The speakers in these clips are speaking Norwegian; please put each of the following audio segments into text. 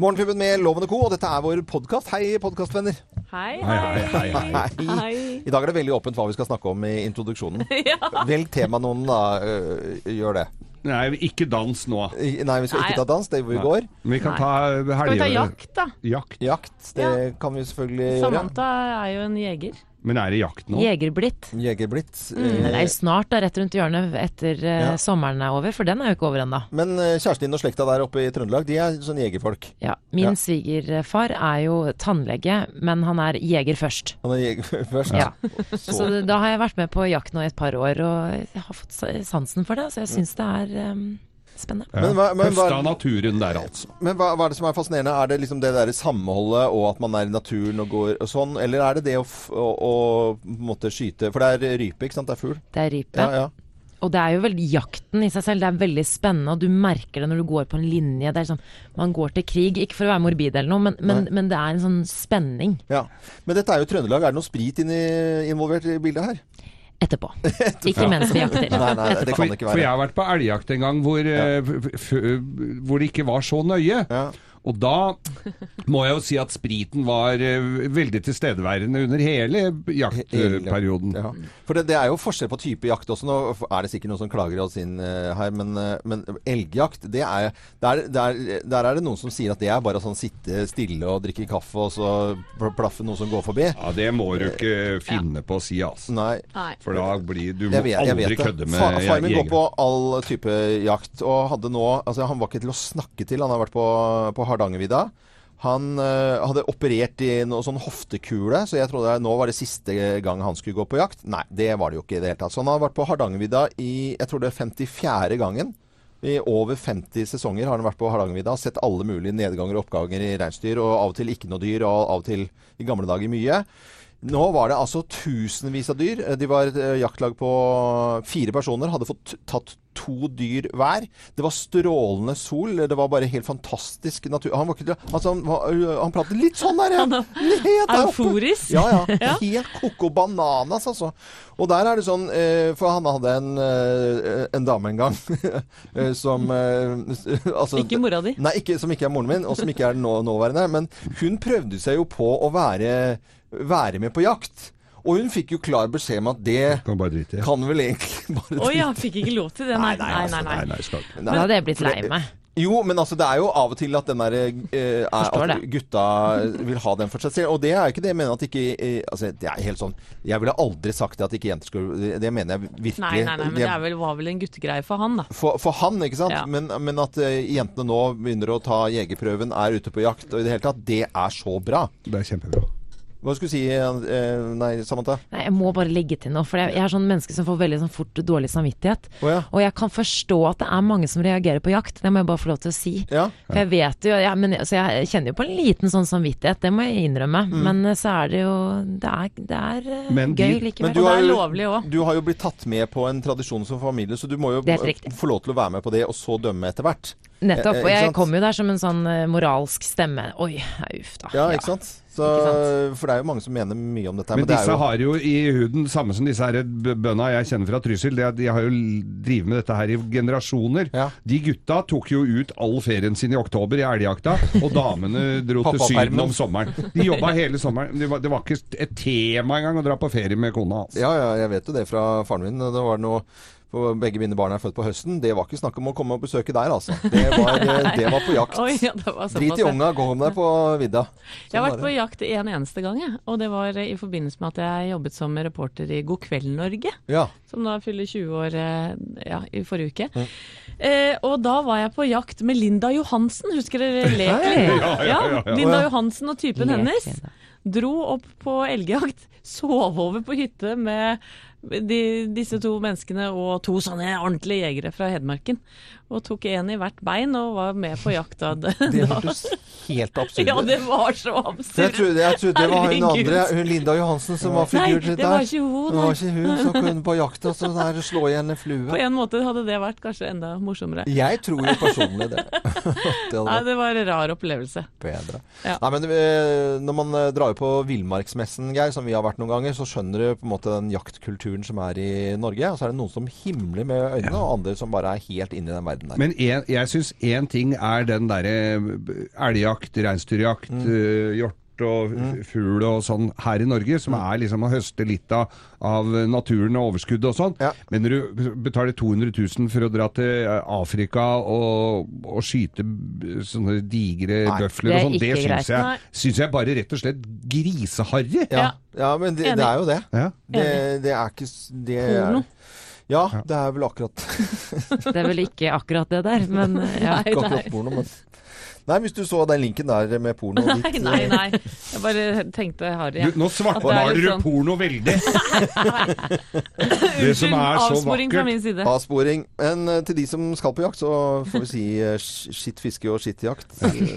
Morgenklubben med Lovende Co, og dette er vår podkast. Hei, podkastvenner. Hei, Hei, hei, hei. hei, hei. Hei. I dag er det veldig åpent hva vi skal snakke om i introduksjonen. Ja. Velg tema noen, da. øh, Gjør det. Nei, ikke dans nå. I- Nei, vi skal Nei. ikke ta dans. Det gjorde vi i går. Vi kan ta eh, helger. Skal vi ta jakt, da? Jakt. Jakt, det kan vi selvfølgelig gjøre. Samantha er jo en jeger. Men er det jakt nå? Jegerblitt. Jegerblitz. Men det eh, er jo snart da, rett rundt hjørnet etter eh, Ja. sommeren er over, for den er jo ikke over ennå. Men eh, kjæresten din og slekta der oppe i Trøndelag, de er sånn jegerfolk. Ja, Ja. min svigerfar er jo tannlege, men han er jeger først. Han er jeger først. Ja. Så, Så det- da har jeg vært med på jakt nå i et par år, og jeg har fått sa- sansen for det, så jeg syns det er eh, spennende. Ja. Men hva- men hva- Høsta naturen der, altså. Men hva, hva er det som er fascinerende? Er det liksom det der samholdet og at man er i naturen og går og sånn, eller er det det å, f å, å på en måte skyte For det er rype, ikke sant? Det er fugl. Det er rype. Ja, ja. Og det er jo veldig jakten i seg selv, det er veldig spennende, og du merker det når du går på en linje. Det er sånn, man går til krig, ikke for å være morbid eller noe, men, men, Nei. men det er en sånn spenning ja. Men dette er jo Trøndelag. Er det noe sprit inni, involvert i bildet her? etterpå. Ikke mens vi jakter. Nei, nei, det For, kan det ikke for jeg være. har vært på elgjakt en gang hvor, eh, f- f- hvor det ikke var så nøye. Ja. Og da må jeg jo si at spriten var eh, veldig tilstedeværende under hele jaktperioden. Ja. For det, det er jo forskjell på type jakt også. Nå er det sikkert noen som klager oss inn eh, her, men, eh, men elgjakt, det er, der, der, der er det noen som sier at det er bare sånn sitte stille og drikke kaffe og så pl- plaffe noe som går forbi. Ja, det må du ikke finne på å si, altså. Nei. Nei. For da blir Du må Jeg vet, jeg aldri vet kødde det. med Fa- Far min går jegere. på all type jakt, og hadde nå Altså, han var ikke til å snakke til. Han har vært på, på Hardangervidda. Han eh, hadde operert i noe sånn hoftekule, så jeg trodde nå var det siste gang han skulle gå på jakt. Nei, det var det jo ikke i det hele tatt. Så han har vært på Hardangervidda i jeg tror det er 54. gangen. I over 50 sesonger har han vært på Hardangervidda. har Sett alle mulige nedganger og oppganger i reinsdyr, og av og til ikke noe dyr, og av og til i gamle dager mye. Nå var det altså tusenvis av dyr. De var et eh, jaktlag på fire personer. Hadde fått tatt to dyr hver. Det var strålende sol. Det var bare helt fantastisk natur. Han, var ikke, altså, han, var- han pratet litt sånn der, ja. Helt der oppe. Euforisk. Ja, ja. Helt koko bananas, altså. Og der er det sånn eh, For han hadde en, eh, en dame en gang eh, som eh, s- altså, Ikke mora di. Nei, ikke, som ikke er moren min, og som ikke er den nå, nåværende. Men hun prøvde seg jo på å være, være med på jakt. Og hun fikk jo klar beskjed om at det Kan bare drite i det. kan vel egentlig bare Å ja, fikk ikke lov til det. Nei, nei, altså. nei. nei, Nei, nei, skal ikke. Nei. altså, Da hadde jeg blitt lei meg. Jo, men altså, det er jo av og til at den der eh, er, Forstår at det. gutta vil ha den for seg selv. Og det er jo ikke det jeg mener at ikke eh, Altså, det er helt sånn Jeg ville aldri sagt at ikke jenter skulle det- Det mener jeg virkelig. Nei, nei, nei, men det er vel, var vel en guttegreie for han, da. for, for han, ikke sant? Ja. Men, men at eh, jentene nå begynner å ta jegerprøven, er ute på jakt og i det hele tatt, det er så bra. Det er kjempebra. Hva skulle du si, eh, nei, Samantha? Nei, jeg må bare legge til noe, for jeg, jeg er sånn menneske som får veldig sånn fort dårlig samvittighet. Å ja. Og jeg kan forstå at det er mange som reagerer på jakt, det må jeg bare få lov til å si. Ja. For jeg vet jo, ja, men, så jeg kjenner jo på en liten sånn samvittighet, det må jeg innrømme. Men eh, så er det jo Det er, det er eh, Men de- gøy Men du likevel. Og det har, er jo, lovlig Eh, òg. du har jo blitt tatt med på en tradisjon som familie, så du må jo Det er helt riktig. få lov til å være med på det, og så dømme etter hvert. Nettopp. eh, Og ikke jeg sant? kom jo der som en sånn eh, moralsk stemme. Oi, ja, uff da. Ja, Ja. ikke sant? Så, Ikke For det er jo mange som mener mye om dette. her, Men, Men, det er disse jo, har jo i huden, samme som disse her b- bønda jeg kjenner fra Trysil, det er at de har jo l- drivet med dette her i generasjoner. Ja. De gutta tok jo ut all ferien sin i oktober i elgjakta, og damene dro til Pappapermen. Syden om sommeren. De jobba hele sommeren. Det var, det var ikke et tema engang å dra på ferie med kona hans. ja, ja, jeg vet jo det fra faren min. Det var noe for begge mine barn er født på høsten. Det var ikke snakk om å komme og besøke der, altså. Det var, det var på jakt. Oi, ja, det var såpass, Drit i ja. unga, gå om deg på vidda. Jeg har Sånn vært var på det. jakt en eneste gang, jeg. Og det var eh, i forbindelse med at jeg jobbet som reporter i God kveld Norge. Ja. Som da fyller 20 år eh, ja, i forrige uke. Eh, og da var jeg på jakt med Linda Johansen, husker dere leken? Ja, ja, ja, ja. Å, ja. Linda Johansen og typen Leken, hennes ja. dro opp på elgjakt. Sov over på hytte med de, disse to menneskene og to sånne ordentlige jegere fra Hedmarken. Og tok én i hvert bein og var med på jakt. da. Det hørtes helt absurd ja, ut. det var så Jeg absurd. trodde, jeg trodde det var hun Herregud. andre, hun Linda Johansen, som var Nei, figur til det der. var ikke hun, Det nei. var ikke hun som kunne på jakt og så der slå igjen en På flue. en måte hadde det vært kanskje enda morsommere. Jeg tror jo personlig det. At det hadde Nei, vært det var en rar opplevelse. bedre. Ja. Nei, men eh, når man eh, drar på villmarksmessen, Geir, som vi har vært noen ganger, så skjønner du på en måte den jaktkulturen naturen som er i Norge. Og så er det noen som himler med øynene, og andre som bare er helt inne i den verden der. Men en, jeg syns én ting er den derre eh, elgjakt, reinsdyrjakt, Mm. eh, hjort og fugl og sånn her i Norge, som Mm. er liksom å høste litt av, av naturen og overskuddet og sånn. Ja. Men når du betaler 200 000 for å dra til eh, Afrika og, og skyte b- sånne digre Nei, bøfler det er og sånn, det ikke greit. syns Nei. jeg, syns jeg bare rett og slett griseharry. ja. ja, men det, det er jo det. Ja. Det, det er ikke s- det er, Porno. Ja, det er vel akkurat Det er vel ikke akkurat det der, men eh, ja. Nei, Ikke nei. akkurat porno, men Nei, hvis du så den linken der med porno Nei, ditt, nei, eh, nei. Jeg bare tenkte harry. Du, Ja. nå At svartmaler det du er litt sånn- porno veldig! det som er så Avsporing fra vakkert. min side. Avsporing. Men eh, til de som skal på jakt, så får vi si eh, sk- skitt fiske og skitt jakt. Eh,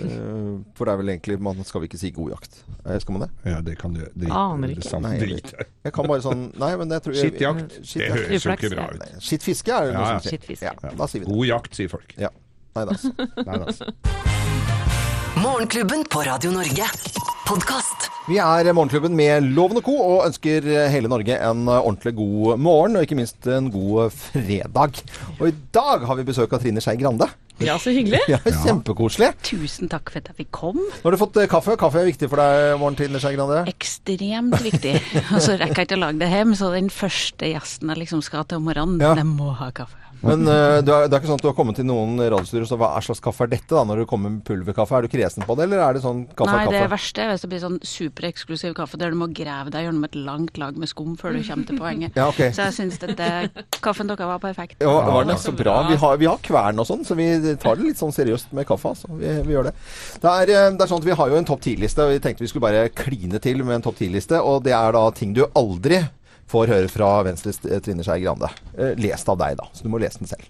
For det er vel egentlig Man skal vel ikke si god jakt? Eh, Skal man det? Ja, det kan du gjøre. Drit- Aner ikke. det samme Nei, jeg drit. Jeg kan bare sånn Nei, men jeg tror jeg- Skitt jakt. Skitt Det jakt. høres jo ikke Uflaks, bra ja. ut. Nei, Skitt fiske er det Ja, noe ja. som sier. Skitt fiske. Ja, da sier vi det. God jakt, sier folk. Ja. Nei da. altså. Nei, da. Morgenklubben på Radio Norge. Podkast. Vi er eh, Morgenklubben med Loven og Co. og ønsker eh, hele Norge en ordentlig god morgen, og ikke minst en god eh, fredag. Og i dag har vi besøk av Trine Skei Grande. Ja, så hyggelig. Ja, Kjempekoselig. Tusen takk for at jeg fikk komme. Nå har du fått eh, kaffe. Kaffe er viktig for deg i morgen, Trine Skei Grande. Ekstremt viktig. Og så rekker jeg ikke å lage det hjem, så den første gjesten jeg liksom skal ha til om morgenen, Ja. den må ha kaffe. Men eh, du er, det er ikke sånn at du har kommet til noen radiostudio og så hva er slags kaffe er dette da, når du kommer med pulverkaffe? Er du kresen på det, eller er det sånn kaffe Nei, er det kaffe? verste er hvis det blir sånn supereksklusiv kaffe der du må grave deg gjennom et langt lag med skum før du kommer til poenget. Ja, ok. Så jeg syns dette kaffen deres var perfekt. Ja, var det så bra. Vi har, vi har kvern og sånn, så vi tar det litt sånn seriøst med kaffe. Altså. Vi, vi gjør det. Det er, eh, det er sånn at Vi har jo en topp 10-liste, og vi tenkte vi skulle bare kline til med en topp 10-liste. Og det er da ting du aldri får høre fra Venstres eh, Trine Skei Grande. Eh, Lest av deg, da. Så du må lese den selv.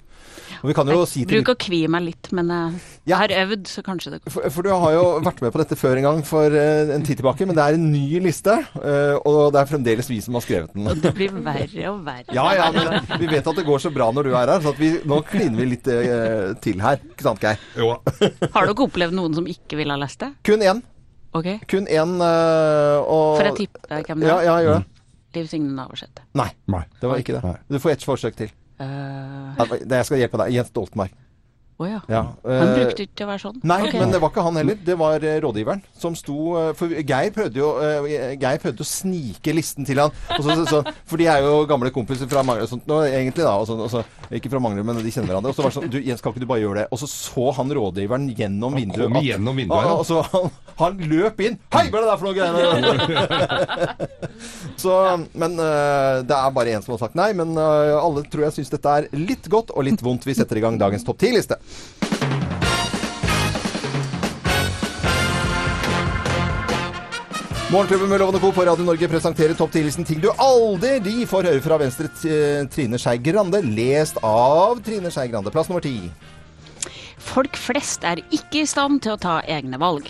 Og vi kan jo si til Bruk å kvie meg litt, men eh, Ja. jeg har øvd, så kanskje det går. For, for du har jo vært med på dette før en gang for eh, en tid tilbake, men det er en ny liste. eh, og det er fremdeles vi som har skrevet den. Det blir verre og verre. Ja, ja, men vi vet at det går så bra når du er her, så at vi, nå kliner vi litt eh, til her. Ikke sant, Geir? Jo. Har dere opplevd noen som ikke ville ha lest det? Kun én. Ok? Kun én eh, og For jeg tipper hvem det Ja, er. ja, gjør det. Liv Signe Navarsete. Nei, Nei. det var ikke det. Nei. Du får ett forsøk til. Eh, Nei, det- Jeg skal hjelpe deg. Jens Stoltenberg. Å ja. Ja. Han eh, brukte ikke å være sånn. Nei, Ok. men det var ikke han heller. Det var eh, rådgiveren som sto eh, For Geir prøvde jo eh, Geir prøvde å snike listen til han. Og så, så, så, for de er jo gamle kompiser fra Manglerud og sånt nå, egentlig, da. Og så, og så, ikke fra Manglerud, men de kjenner hverandre. Og så var det sånn Du, Jens, kan ikke du bare gjøre det? Og så så han rådgiveren gjennom Han vinduet. kom at- gjennom vinduet, ja. Og så han, han løp inn. Hei, hva er det der for noe greier? så Men eh, det er bare én som har sagt nei. Men eh, alle tror jeg syns dette er litt godt og litt vondt. Vi setter i gang dagens topp ti-liste. Morgenklubben med Lovende Co. på Radio Norge presenterer topp 10-listen ting du aldri får høre fra Venstre t- Trine Skei Grande, lest av Trine Skei Grande. Plass nummer ti. Folk flest er ikke i stand til å ta egne valg.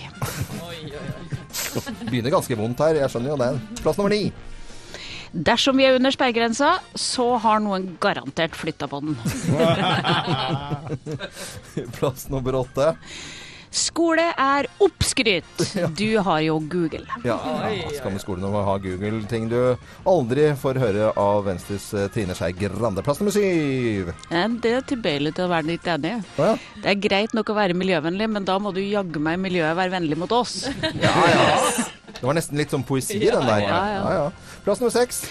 Begynner ganske vondt her, jeg skjønner jo det. Plass nummer ni. Dersom vi er under sperregrensa, så har noen garantert flytta på den. Plass nummer åtte. Skole er oppskryt. Du har jo Google. Ja, ja skal med skolen om å ha Google. Ting du aldri får høre av Venstres eh, Trine Skei Grande. Plass nummer syv. Eh, Det er tilbøyelig til å være litt enig. Å ja. Det er greit nok å være miljøvennlig, men da må du jaggu meg i miljøet være vennlig mot oss. Det var nesten litt som poesi, den der. ja, ja. Plass nummer seks.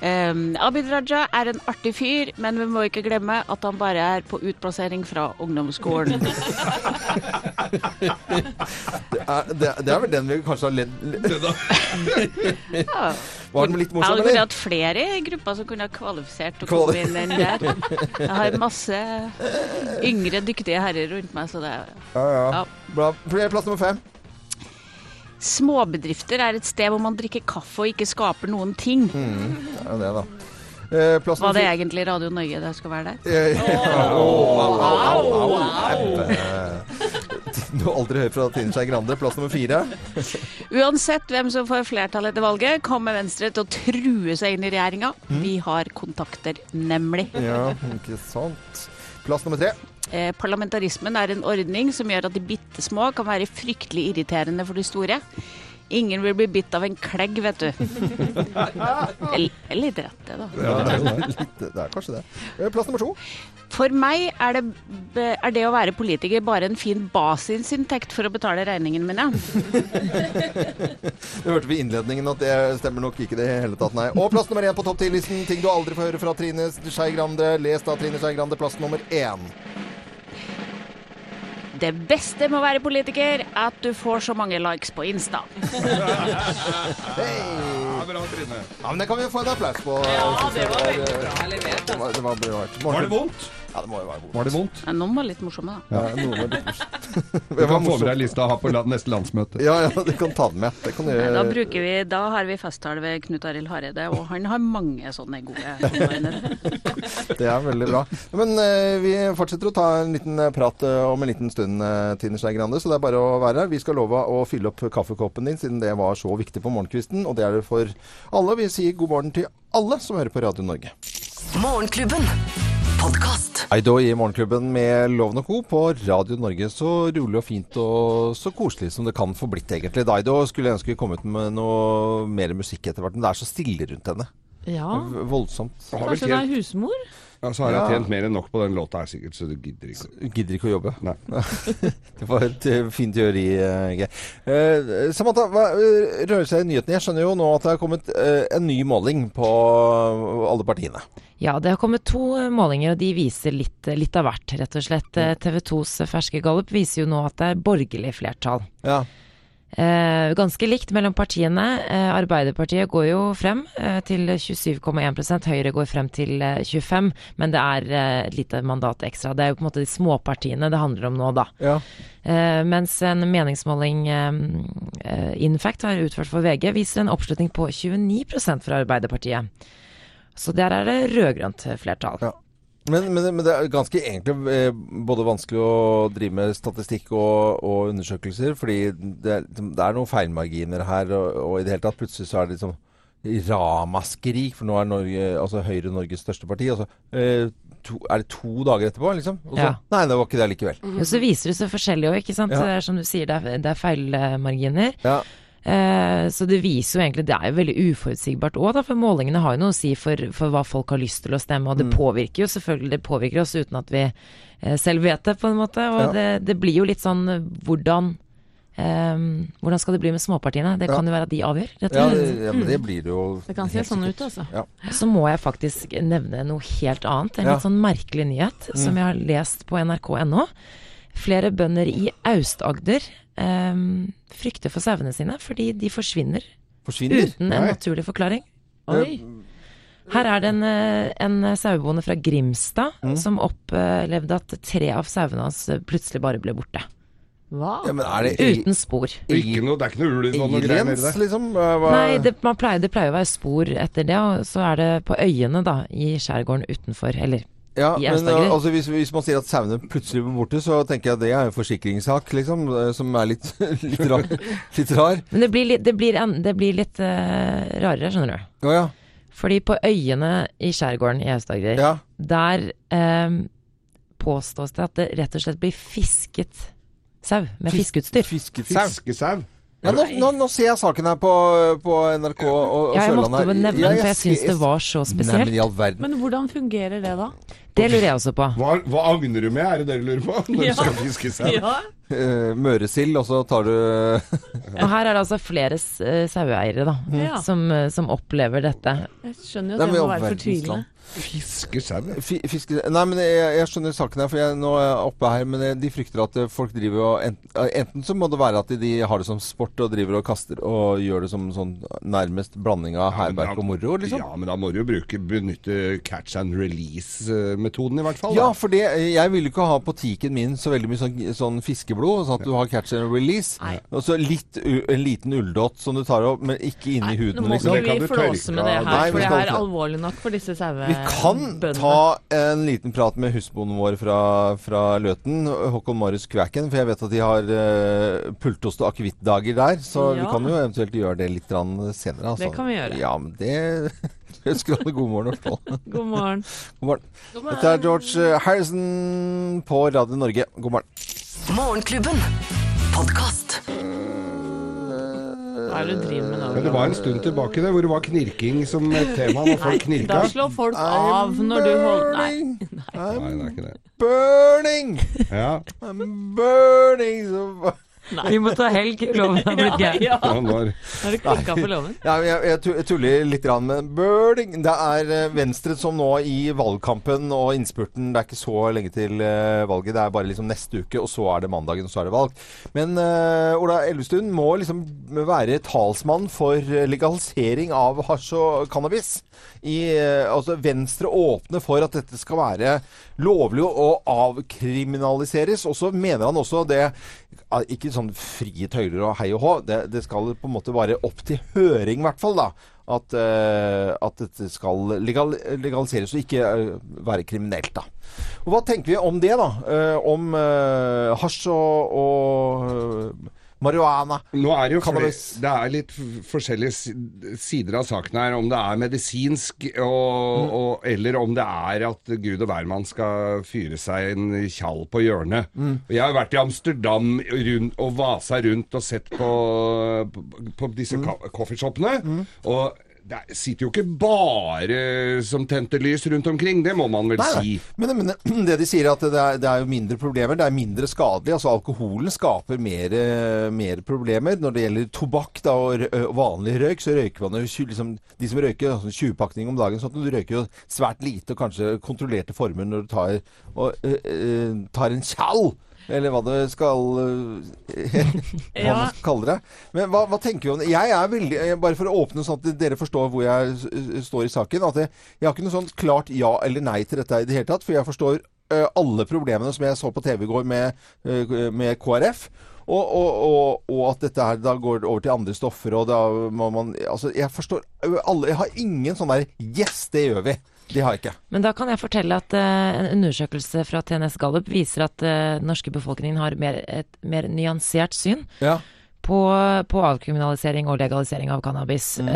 Eh, Abid Raja er en artig fyr, men vi må ikke glemme at han bare er på utplassering fra ungdomsskolen. Det er, det, det er vel den vi kanskje har ledd Ja. Var den litt Jeg morsom, hadde kunnet eller? hatt flere grupper som kunne ha kvalifisert til å Kvali- komme inn den der. Jeg har masse yngre, dyktige herrer rundt meg, så det er Ja, ja. Ja. Bra. Plass nummer fem. Småbedrifter er et sted hvor man drikker kaffe og ikke skaper noen ting. Mm. Ja, det da. Eh, plass Var det nummer Eh, egentlig Radio Norge det skulle være der? fire. eh, Du har aldri hørt fra Trine Skei Grande. Plass nummer fire. Uansett hvem som får flertall etter valget, kommer Venstre til å true seg inn i regjeringa. Mm. Vi har kontakter, nemlig. Ja, ikke sant. Plass nummer tre. Eh, parlamentarismen er en ordning som gjør at de bitte små kan være fryktelig irriterende for de store. Ingen vil bli bitt av en klegg, vet du. Det er litt rett, det, da. Ja, det, er jo det. det er kanskje det. Eh, Plass nummer to. For meg er det, er det å være politiker bare en fin basisinntekt for å betale regningene mine. Det hørte vi i innledningen at det stemmer nok ikke det i hele tatt, nei. Og plass nummer én på topp ti-listen. Ting du aldri får høre fra Trine Skei Grande. Les da Trine Skei Grande, plass nummer én. Det beste med å være politiker er at du får så mange likes på Insta. Hei! Ja, bra, Trine. Ja, men det kan vi jo få en applaus på. Ja, det var veldig bra altså. levert. Det var, det var bra. Var det vondt? Ja, det må jo være god. Var det vondt? Ja, noen var litt morsomme, da. Ja, noe var litt morsomt. Du Det var kan få med deg morsomt. lista å ha på la- neste landsmøte. Ja, ja, du kan ta den med. Det kan du Da, gjøre. bruker vi, da har vi festtale ved Knut Arild Hareide, og han har mange sånne gode minner. Det er veldig bra. Men eh, vi fortsetter å ta en liten eh, prat eh, om en liten stund, eh, Trine Skei Grande. Så det er bare å være her. Vi skal love å fylle opp kaffekoppen din, siden det var så viktig på morgenkvisten. Og det er det for alle. Vi sier god morgen til alle som hører på Radio Norge. Morgenklubben. Podkast. Aidoi i Morgenklubben med Loven og Co. på Radio Norge. Så rolig og fint og så koselig som det kan få blitt, egentlig. Daido skulle ønske vi kom ut med noe mer musikk etter hvert, men det er så stille rundt henne. Ja, V- Voldsomt. Har vel kanskje hun er tjent, husmor? ja, så har Ja. jeg tjent mer enn nok på den låta her, sikkert, så du gidder ikke. Du gidder ikke å jobbe. Nei. Det var et eh, fin teori, eh, Geir. Eh, Samantha, hva eh, rører seg i nyhetene? Jeg skjønner jo nå at det har kommet eh, en ny måling på alle partiene. Ja, det har kommet to eh, målinger, og de viser litt, eh, litt av hvert, rett og slett. Eh, TV 2s ferske gallup viser jo nå at det er borgerlig flertall. Ja. Eh, ganske likt mellom partiene. Eh, Arbeiderpartiet går jo frem eh, til 27,1 Høyre går frem til eh, 25 men det er eh, et lite mandat ekstra. Det er jo på en måte de småpartiene det handler om nå, da. ja. Eh, mens en meningsmåling eh, eh, Infact har utført for VG, viser en oppslutning på 29 fra Arbeiderpartiet. Så der er det rød-grønt flertall. Ja. Men, men, men det er ganske egentlig eh, både vanskelig å drive med statistikk og, og undersøkelser, fordi det, er- det er noen feilmarginer her, og, og i det hele tatt plutselig så er det liksom ramaskrik, for nå er Norge, altså Høyre Norges største parti. Altså, eh, to, er det to dager etterpå, liksom? Og så, Ja. Nei, det var ikke det likevel. Mm. Jo, så viser det seg forskjellig òg, ikke sant. Ja. Det er som du sier, det er, det er feilmarginer. Ja. Eh, så det viser jo egentlig Det er jo veldig uforutsigbart òg, da. For målingene har jo noe å si for, for hva folk har lyst til å stemme. Og Mm. det påvirker jo selvfølgelig Det påvirker oss uten at vi eh, selv vet det, på en måte. Ja. Og det, det blir jo litt sånn eh, hvordan eh, Hvordan skal det bli med småpartiene? Det Ja. kan jo være at de avgjør, rett Ja, og slett. det, ja, men det blir det jo. Det kan se helt sånn sikkert. ut, altså. Ja. Så må jeg faktisk nevne noe helt annet. En Ja. Mm. litt sånn merkelig nyhet som jeg har lest på nrk.no. Flere bønder i Aust-Agder ehm, frykter for sauene sine fordi de forsvinner Forsvinner? uten en naturlig forklaring. Oi. Her er det en, eh, en sauebonde fra Grimstad som opplevde at tre av sauene hans eh, plutselig bare ble borte. Hva? Ja, men er det i- Uten spor. Ikke noe, det er ikke noe ulv og noe greier nedi aliens, der. liksom? Hva- hva- Nei, det, man pleier, det pleier å være spor etter det, og så er det på øyene da, i skjærgården utenfor, eller ja, i men Aust-Agder. uh, altså, hvis, hvis man sier at sauene plutselig blir borte, så tenker jeg det er en forsikringssak, liksom, uh, som er litt, litt rar. Litt rar. Men det blir, litt- det blir, en- det blir litt eh, rarere, skjønner du. Å ja. Fordi på øyene i skjærgården i Aust-Agder, ja. der eh, påstås det at det rett og slett blir fisket sau med fiskeutstyr. Fiskefisk. Fiskesau. Ja, nå, nå, nå ser jeg saken her på, på NRK og, og Ja, jeg Sørlandet. måtte her. bare nevne den, for jeg ser- syns det var så Nei, men spesielt. i all verden. Men hvordan fungerer det da? Det lurer jeg også på. Hva, hva agner du med, er det det du lurer på? Når Ja. du skal fiske sau? Ja. Uh, Møresild, og så tar du Og her er det altså flere s- eh, saueeiere da, Ja. som, eh, som opplever dette. Jeg skjønner jo Nei, men at i det må all være verdens land. fortvilende. Fiskesau? ja. Fi- Fiske... Nei, men jeg, jeg skjønner saken her, for jeg, nå er jeg oppe her, men de frykter at eh, folk driver og enten, enten så må det være at de har det som sport og driver og kaster og gjør det som sånn nærmest blanding av Ja, hærverk og moro, liksom. Ja, men da må du jo bruke, benytte catch and release-metoden i hvert fall. Ja, da. for det, jeg vil jo ikke ha på tiken min så veldig mye sånn, sånn fiskeblod, sånn at du har catch and release. Og så litt, u- en liten ulldott som du tar opp, men ikke inni Nå huden, må liksom. det ikke kan vi du flåse tørke med det av. her, Nei, vi for det skal er ikke det. alvorlig nok for disse Vi sauebøndene. kan ta en liten prat med husbonden vår fra, fra Løten, Håkon Marius Kvæken, for jeg vet at de har eh, pultost- og akevittdager der. Så vi Ja. kan jo eventuelt gjøre det litt grann senere. Altså. Det kan vi gjøre. Ja, men det Jeg ønsker alle god morgen, i hvert fall. God morgen. God morgen. Dette er George eh, Harrison på Radio Norge. God morgen. Morgenklubben. Podkast. Er hva er det du driver med nå? Men det var en stund tilbake det, hvor det var knirking som et tema, når folk knirka. Da slår folk av når du holder Nei. Nei, Eh, I'm det er ikke det. burning! Ja, I'm burning! Så... Vi må ta helg, loven har blitt gæren. Ja, han var... Har du klikka på låven? Ja, men jeg, jeg tu- jeg tuller litt grann med burning. Det er eh, Venstre som nå i valgkampen og innspurten Det er ikke så lenge til eh, valget. Det er bare liksom neste uke, og så er det mandagen, og så er det valg. Men eh, Ola Elvestuen må liksom være talsmann for eh, legalisering av hasj og cannabis. I, eh, altså Venstre åpner for at dette skal være lovlig og avkriminaliseres. Og så mener han også det ja, Ikke sånn frie tøyler og hei og hå. Det, det skal på en måte være opp til høring, i hvert fall. da, At, eh, at dette skal legal, legaliseres og ikke eh, være kriminelt. da. Og Hva tenker vi om det, da? Eh, om eh, hasj og, og eh, marihuana? Nå er det jo flere, Cannabis. det er litt f- forskjellige si- sider av saken her, om det er medisinsk, og, og, eller om det er at gud og hvermann skal fyre seg en tjall på hjørnet. Og Jeg har vært i Amsterdam rundt, og vasa rundt og sett på, på, på disse mm. coffeeshopene, og det er- sitter jo ikke bare som tente lys rundt omkring, det må man vel Nei, si. nei. Men, men det de sier er at det er, det er jo mindre problemer, det er mindre skadelig. Altså alkoholen skaper mer, eh, mer problemer. Når det gjelder tobakk da, og rø- og vanlig røyk, så røyker man jo tju- liksom, De som røyker altså, 20-pakning om dagen, sånn at du røyker jo svært lite og kanskje kontrollerte former når du tar, og, eh, eh, tar en tjall. Eller hva det skal eh, hva Ja. man kaller det. Men hva, hva tenker vi om det? Jeg er veldig, eh, Bare for å åpne sånn at dere forstår hvor jeg s- s- står i saken. at Jeg, jeg har ikke noe sånn klart ja eller nei til dette i det hele tatt. For jeg forstår eh, alle problemene som jeg så på TV i går med, eh, med KrF. Og, og, og, og at dette her da går over til andre stoffer, og da må man Altså, jeg forstår eh, alle Jeg har ingen sånn der Yes, det gjør vi! Det har jeg ikke. Men da kan jeg fortelle at eh, en undersøkelse fra TNS Gallup viser at eh, den norske befolkningen har mer, et mer nyansert syn på, på avkriminalisering og legalisering av cannabis. Mm.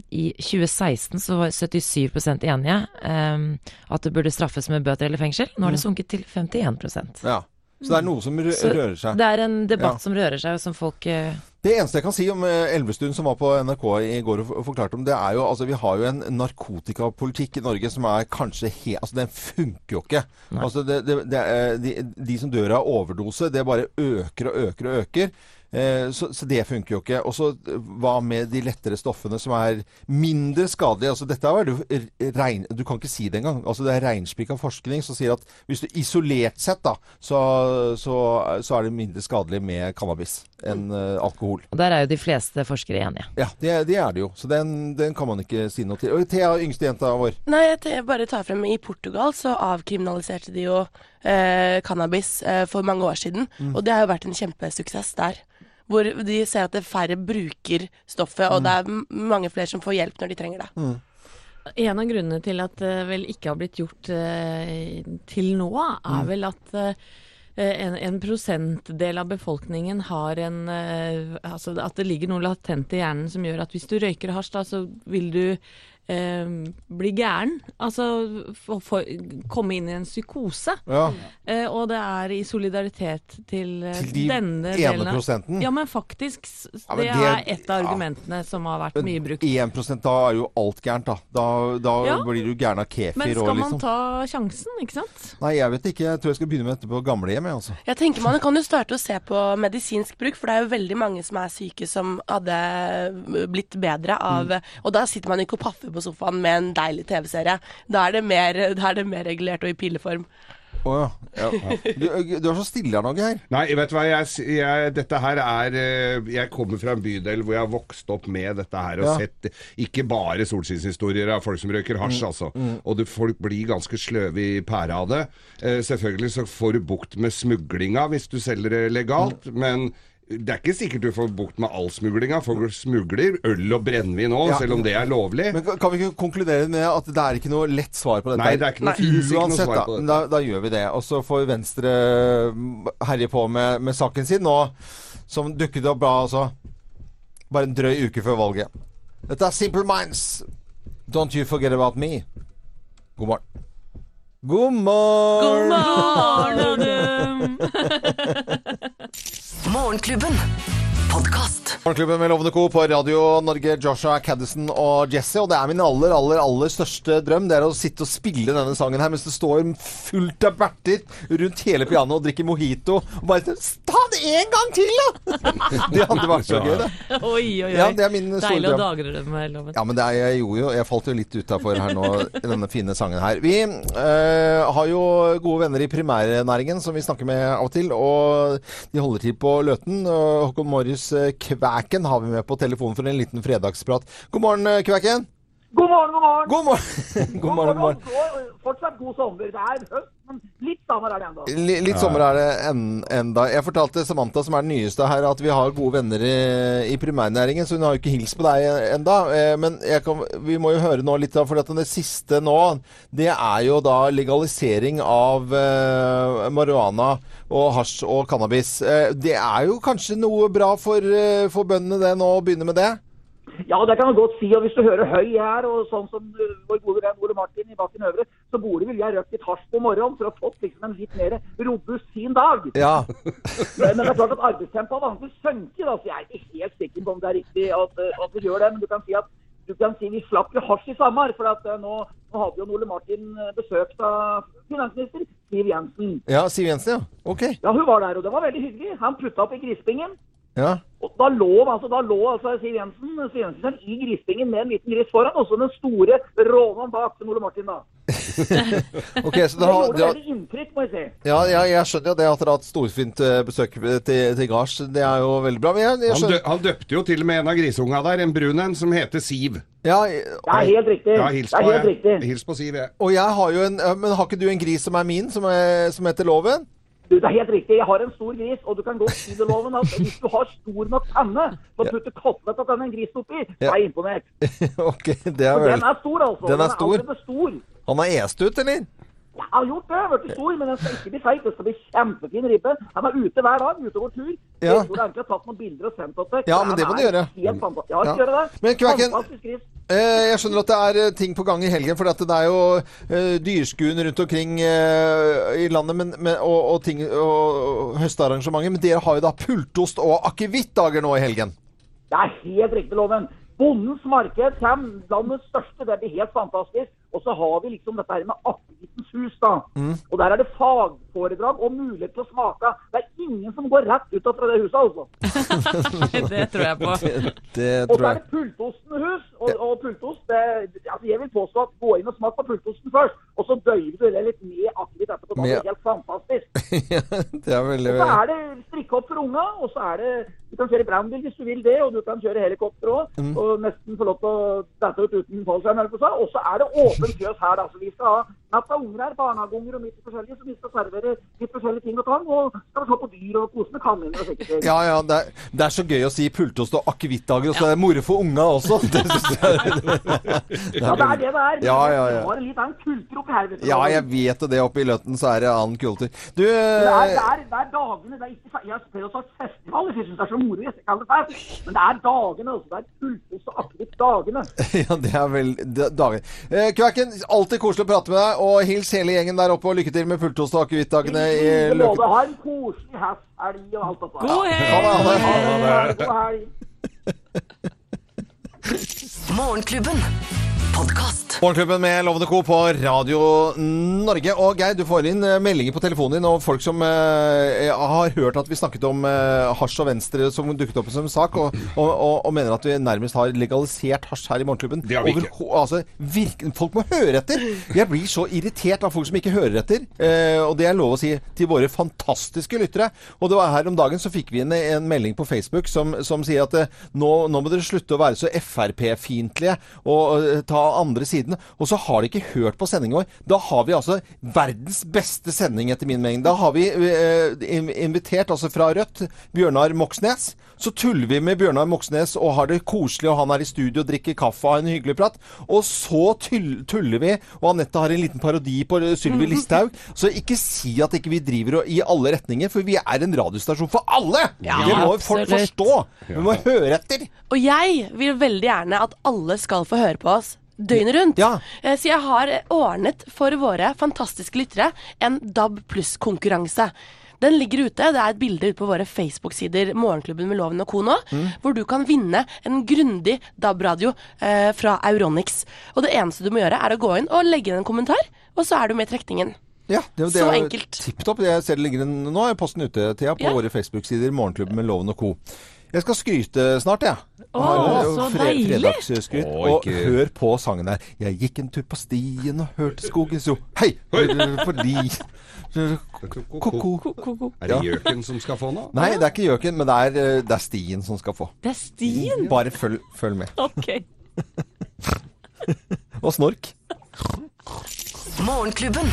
Eh, I 2016 så var 77 enige eh, at det burde straffes med bøter eller fengsel. Nå Mm. har det sunket til 51 ja. Så det er noe som rø Så rører seg. Det er en debatt Ja. som rører seg, og som folk eh, Det eneste jeg kan si om eh, Elvestuen som var på NRK i går og f- forklarte om, det er jo altså vi har jo en narkotikapolitikk i Norge som er kanskje he... Altså den funker jo ikke. Altså det, det, det, er- de, de som dør av overdose, det bare øker og øker og øker. Eh, Så, så det funker jo ikke. Og så eh, hva med de lettere stoffene som er mindre skadelige? Altså dette er jo r- rein, Du kan ikke si det engang. Altså det er reinspikka forskning som sier at hvis du isolert sett, da, så, så, så er det mindre skadelig med cannabis enn eh, alkohol. Og der er jo de fleste forskere enige. Ja, det, det er det jo. Så den, den kan man ikke si noe til. Og Thea, yngste jenta vår. Nei, jeg te- bare tar frem I Portugal så avkriminaliserte de jo eh, cannabis eh, for mange år siden. Og det har jo vært en kjempesuksess der. Hvor de ser at det færre bruker stoffet, og det er m- mange flere som får hjelp når de trenger det. En av grunnene til at det vel ikke har blitt gjort eh, til nå, Mm. er vel at eh, en, en prosentdel av befolkningen har en eh, Altså at det ligger noe latent i hjernen som gjør at hvis du røyker hasj, da, så vil du eh, bli gæren. Altså få- få- komme inn i en psykose. Ja. Eh, og det er i solidaritet til, eh, Til de denne ene delen av prosenten? Ja, men faktisk. s- Ja, men det, det- er et av ja. argumentene som har vært Mm. mye brukt. 1 da er jo alt gærent, da. Da, da Ja. blir du gæren av Men kefir skal og man liksom. ta sjansen, ikke sant? Nei, jeg vet ikke. Jeg tror jeg skal begynne med dette på gamlehjem, jeg, altså. Jeg tenker Man kan jo starte å se på medisinsk bruk, for det er jo veldig mange som er syke som hadde eh, blitt bedre av Og da sitter man ikke og paffer på sofaen med en deilig TV-serie. Da, er det mer- da er det mer regulert og i pilleform. Å ja. ja. Du, du er så stille her nå, Geir. Nei, vet du hva, jeg, s- jeg, dette her er eh, Jeg kommer fra en bydel hvor jeg har vokst opp med dette her og Ja. sett ikke bare solskinnshistorier av folk som røyker Mm. hasj, altså. Og det, folk blir ganske sløve i pæra av det. Eh, selvfølgelig så får du bukt med smuglinga hvis du selger det legalt, Mm. men det er ikke sikkert du får bukt med all smuglinga. Folk smugler øl og brennevin òg, Ja. selv om det er lovlig. Men kan- kan vi ikke konkludere med at det er ikke noe lett svar på dette? Nei, det er ikke Nei, noe- finnes ikke noe Uansett, svar på da, dette. da, da gjør vi det. Og så får Venstre mm, herje på med, med saken sin nå, som dukket opp da, altså bare en drøy uke før valget. Dette er Simple Minds. Don't you forget about me. God morgen. God morgen! Barnadum! Morgenklubben. Podkast. Morgenklubben med Lovende Co. på Radio Norge, Joshua Caddison og Jesse. Og det er min aller, aller aller største drøm Det er å sitte og spille denne sangen her mens det står fullt av berter rundt hele pianoet og drikker mojito. Og bare Ta det en gang til, da! Det hadde vært så gøy, det. Oi, oi, oi. Ja, det er min store Deilig å drøm. dagdrømme, Loven. Ja, men det er, jeg gjorde jo Jeg falt jo litt utafor her nå, i denne fine sangen her. Vi eh, har jo gode venner i primærnæringen som vi snakker med av og til. Og de holder til på Løten. Og Håkon Morris eh, Kvæken har vi med på telefonen for en liten fredagsprat. God morgen, eh, Kvæken. God morgen, god morgen! God morgen. God morgen, god morgen. Og Fortsatt god sommer. Det er høst, men litt sommer er det ennå. Li- Litt sommer er det en, enda. Jeg fortalte Samantha, som er den nyeste her, at vi har gode venner i, i primærnæringen, så hun har jo ikke hilst på deg enda. Eh, Men jeg kan, vi må jo høre nå litt av, for at det siste nå, det er jo da legalisering av eh, marihuana og hasj og cannabis. Eh, det er jo kanskje noe bra for, eh, for bøndene det nå, å begynne med det? Ja, det kan du godt si. Og hvis du hører høy her, og sånn som uh, vår gode venn Ole Martin i Bakken Øvre, så burde vel jeg røkt litt hasj på morgenen for å få liksom en litt mer robust fin dag. Ja. Men, men det er klart at arbeidstempoet vanligvis synker, da, så jeg er ikke helt sikker på om det er riktig at, eh, at vi gjør det. Men du kan si at du kan si vi slapp jo hasj i sommer, for at eh, nå, nå hadde jo Ole Martin eh, besøkt av finansminister Siv Jensen. ja Siv Jensen, ja. Ok. Ja, hun var der, og det var veldig hyggelig. Han putta opp i grispingen. Ja. Og da lå, altså, da lå altså, Siv Jensen Siv Jensen i grispingen med en liten gris foran, og så den store rånen bak til Ole Martin. da. Ok, så Det da, gjorde da, veldig inntrykk, må jeg si. Ja, ja, jeg skjønner jo det at dere har hatt storfint eh, besøk eh, til, til gards. Det er jo veldig bra. Men jeg, jeg Han, dø skjønner han døpte jo til og med en av grisunga der, en brun en, som heter Siv. ja, Det er helt riktig. Ja, hils Mm. det på, er helt jeg. riktig. Hils på Siv, jeg. Og jeg har jo en eh, Men har ikke du en gris som er min, som, er, som heter Loven? Du, det er helt riktig. Jeg har en stor gris, og du kan godt si det, loven, at hvis du har stor nok panne til å putte kotlet av denne grisen oppi, så er jeg imponert. ok, det er For vel den er stor, altså. Den er stor. allerede stor. Han har est ut, eller? Jeg har gjort det, jeg har blitt stor, men den skal ikke bli feit. Det skal bli kjempefin ribbe. Han er ute hver dag, ute og går tur. Jeg Ja. tror jeg egentlig har tatt noen bilder og sendt oss det. Ja, men det må Han du er gjøre. Helt fantastisk. Ja, jeg Ja. skal gjøre det. Men Kvaken- Fantastisk gris. Eh, jeg skjønner at det er eh, ting på gang i helgen, for det er jo eh, dyrskuen rundt omkring eh, i landet men, men, og, og, ting, og, og høstarrangementer. Men dere har jo da pultost og akevittdager nå i helgen. Det er helt riktig, Loven. Bondens marked kommer, landets største. Det blir helt fantastisk. Og så har vi liksom dette her med Akevittens hus, da. Mm. Og der er det fagforedrag og mulighet til å smake. Det er ingen som går rett ut fra det huset, altså. Det tror jeg på. Det Og så er det pultostehus. Og, og pultost det, altså Jeg vil påstå at gå inn og smak på pultosten først, og så døyver du det litt med akevitt etterpå. Da blir Med- det helt fantastisk. det er veldig Så er det strikke opp for unga, og så er det Du kan kjøre brannbil hvis du vil det, og du kan kjøre helikopter òg, Mm. og nesten få lov til å dette ut uten fallskjerm, eller hva det er. Og så er det åpent fjøs her, da. Så vi skal ha natt av unger her, barnehageunger og midt i forskjellige, så vi skal servere litt forskjellige ting og tang, og skal se på dyr og kose med kaniner og slike ting. Ja, ja, det er, det er så gøy å si pultost og akevittdager, og så er det moro for unga også. Det synes jeg Ja, det er det det er. Ja, ja, ja. Vi har en litt annen kultur oppi her, vet du. Ja, jeg vet jo det. Oppe i Løten så er det annen kultur. Du Det er, det, eh, er, det er dagene det er ikke, fe- Jeg pleier å si festivaler, for jeg syns det er så moro. Jeg kaller det fest. Men det er dagene. altså. Det er pultost og akevitt dagene. Ja, det er vel det- dagen. Eh, Kvæken, alltid koselig å prate med deg, og hils hele gjengen der oppe, og lykke til med pultost og akevittdagene i uh, Vi må Løken. ha en koselig hest, elg og alt dette. God helg! Ha det, ha det. Ha det. God helg. Morgenklubben. Podkast. Morgenklubben med Lovende Co. på Radio Norge. Og Geir, du får inn eh, meldinger på telefonen din og folk som eh, har hørt at vi snakket om eh, hasj og Venstre som dukket opp som sak, og, og, og, og mener at vi nærmest har legalisert hasj her i Morgenklubben. Det har vi ikke. Overho- altså, virke- folk må høre etter! Jeg blir så irritert av folk som ikke hører etter. Eh, og det er lov å si til våre fantastiske lyttere. Og det var her om dagen så fikk vi inn en melding på Facebook som, som sier at eh, nå, nå må dere slutte å være så Frp-fiendtlige og eh, ta andre siden. Og så har de ikke hørt på sendingen vår. Da har vi altså verdens beste sending, etter min mening. Da har vi eh, in- invitert, altså fra Rødt, Bjørnar Moxnes. Så tuller vi med Bjørnar Moxnes og har det koselig, og han er i studio og drikker kaffe og har en hyggelig prat. Og så tull- tuller vi, og Anette har en liten parodi på eh, Sylvi Listhaug. Så ikke si at ikke vi driver og- i alle retninger, for vi er en radiostasjon for alle! det må jo folk absolutt. forstå! Vi må høre etter! Og jeg vil veldig gjerne at alle skal få høre på oss døgnet rundt. Ja. Eh, Så jeg har eh, ordnet for våre fantastiske lyttere en DAB pluss-konkurranse. Den ligger ute. Det er et bilde ute på våre Facebook-sider, Morgenklubben med Loven og co. nå, hvor du kan vinne en grundig DAB-radio eh, fra Euronics. Og det eneste du må gjøre, er å gå inn og legge inn en kommentar, og så er du med i trekningen. Ja, det, det Så er jo enkelt. Tipp topp. Jeg ser det ligger en, nå er posten ute, Thea, på Ja. våre Facebook-sider. Morgenklubben med Loven og co. Jeg skal skryte snart, jeg. Å, Har jo så fre- deilig! Fredagsskryt. Å, Og ikke- hør på sangen der. Jeg gikk en tur på stien og hørte skogen så Hei! Fordi Ko-ko. Ko-ko-ko. Er det gjøken som skal få nå? Nei, det er ikke gjøken, men det er, eh, det er stien som skal få. Det er stien! Bare følg, følg med. Ok. Og snork. Morgenklubben.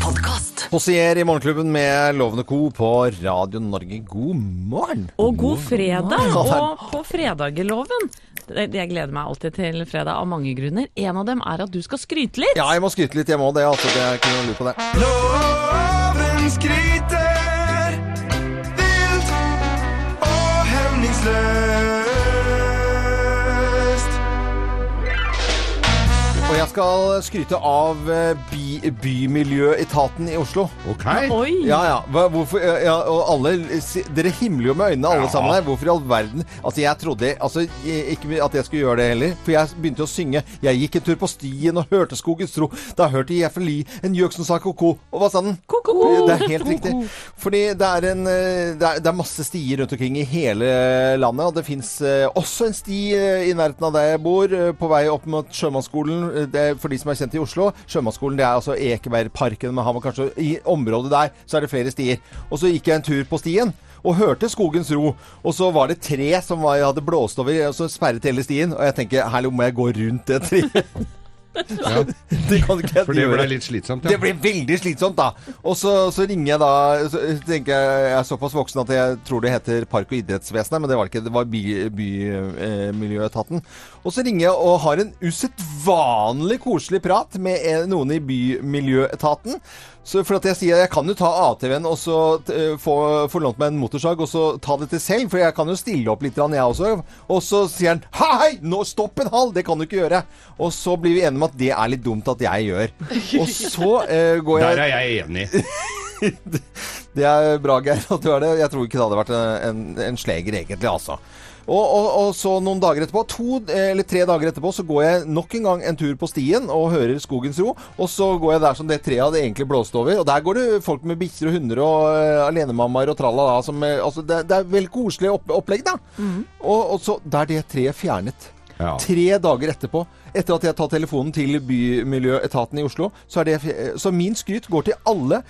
Podkast. Hossier i Morgenklubben med Lovende Co. på Radio Norge. God morgen! Og god fredag, Wow. og på fredageloven. Jeg gleder meg alltid til fredag av mange grunner. En av dem er at du skal skryte litt. Ja, jeg må skryte litt, jeg må det. Altså, det er ikke noe lurt på det. Loven skryter vilt og hemningsløst. Og jeg skal skryte av eh, by, Bymiljøetaten i Oslo. Ok. Oi! Ja, ja. Hva- Hvorfor, eh, ja og alle, si- dere himler jo med øynene, alle Ja. sammen her. Hvorfor i all verden Altså, jeg trodde altså, jeg- ikke at jeg skulle gjøre det heller. For jeg begynte å synge. Jeg gikk en tur på stien og hørte skogens tro. Da hørte jeg for li en gjøk som sa ko-ko. Og hva sa den? Ko-ko-ko. Det er helt riktig. Fordi det er, en, eh, det, er, det er masse stier rundt omkring i hele landet, og det fins også en sti eh, i nærheten av der jeg bor, eh, på vei opp mot Sjømannsskolen. Eh, Det er, for de som er kjent i Oslo, Sjømannsskolen det er altså Ekebergparken, men har man kanskje i området der, så er det flere stier. Og så gikk jeg en tur på stien. Og hørte skogens ro, og så var det tre som var, hadde blåst over, og så sperret hele stien. Og jeg tenker, herlig, må jeg gå rundt det treet? Ja, Det kan ikke jeg for det gjøre. ble litt slitsomt, Det ja. blir veldig slitsomt, da. Og så, så ringer jeg da så tenker Jeg jeg er såpass voksen at jeg tror det heter Park- og idrettsvesenet, men det var det ikke. Det var Bymiljøetaten. By, eh, miljøetaten. og så ringer jeg og har en usedvanlig koselig prat med eh, noen i Bymiljøetaten. Så for at jeg sier jeg kan jo ta ATV-en og så eh, få, få lånt meg en motorsag og så ta dette selv, for jeg kan jo stille opp litt, grann, jeg også. Og så sier han hei, hei, nå stopp en hal, det kan du ikke gjøre. Og så blir vi enige om at det er litt dumt at jeg gjør. Og så eh, går jeg Der er jeg enig. det er bra, Geir, at du er det. Jeg tror ikke det hadde vært en, en sleger, egentlig, altså. Og, og, og så noen dager etterpå, to eh, eller tre dager etterpå, så går jeg nok en gang en tur på stien og hører skogens ro. Og så går jeg der som det treet hadde egentlig blåst over. Og der går det folk med bikkjer og hunder og eh, alenemammaer og tralala som eh, Altså, det, det er veldig koselig opp, opplegg, da. Og, og så Der det treet fjernet. Ja. Tre dager etterpå, etter at jeg tar telefonen til Bymiljøetaten i Oslo, så, er det, så min skryt går til alle,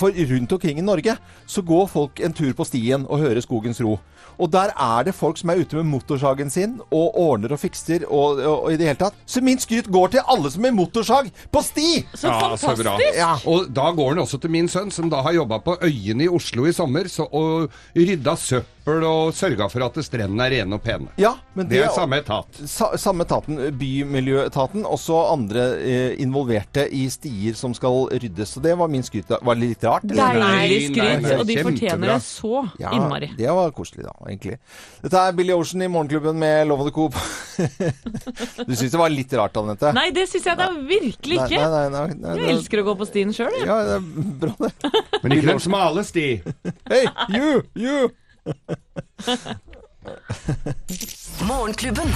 for rundt omkring i Norge så går folk en tur på stien og hører skogens ro. Og der er det folk som er ute med motorsagen sin og ordner og fikser og, og, og i det hele tatt. Så min skryt går til alle som er motorsag på sti! Så Ja, så fantastisk! bra. Ja. Og da går den også til min sønn, som da har jobba på Øyene i Oslo i sommer så, og rydda søppel og sørga for at strendene er rene og pene. Ja, men Det er samme etat. Sa, samme etaten, Bymiljøetaten, også andre eh, involverte i stier som skal ryddes. Så det var min skryt. Var det litt rart? eller? Deilig Nei, nei, skryt, nei, og de kjempebra. fortjener det så Ja, innmari. det var koselig da, egentlig. Dette er Billy Ocean i Morgenklubben med Lovende Coop. du syns det var litt rart, Anette? Nei, det syns jeg da virkelig Nei, ikke. nei, nei, nei, Jeg det- elsker å gå på stien sjøl, jeg. Ja, det er bra det. Men ikke den smale sti. Hei, you, you! Morgenklubben.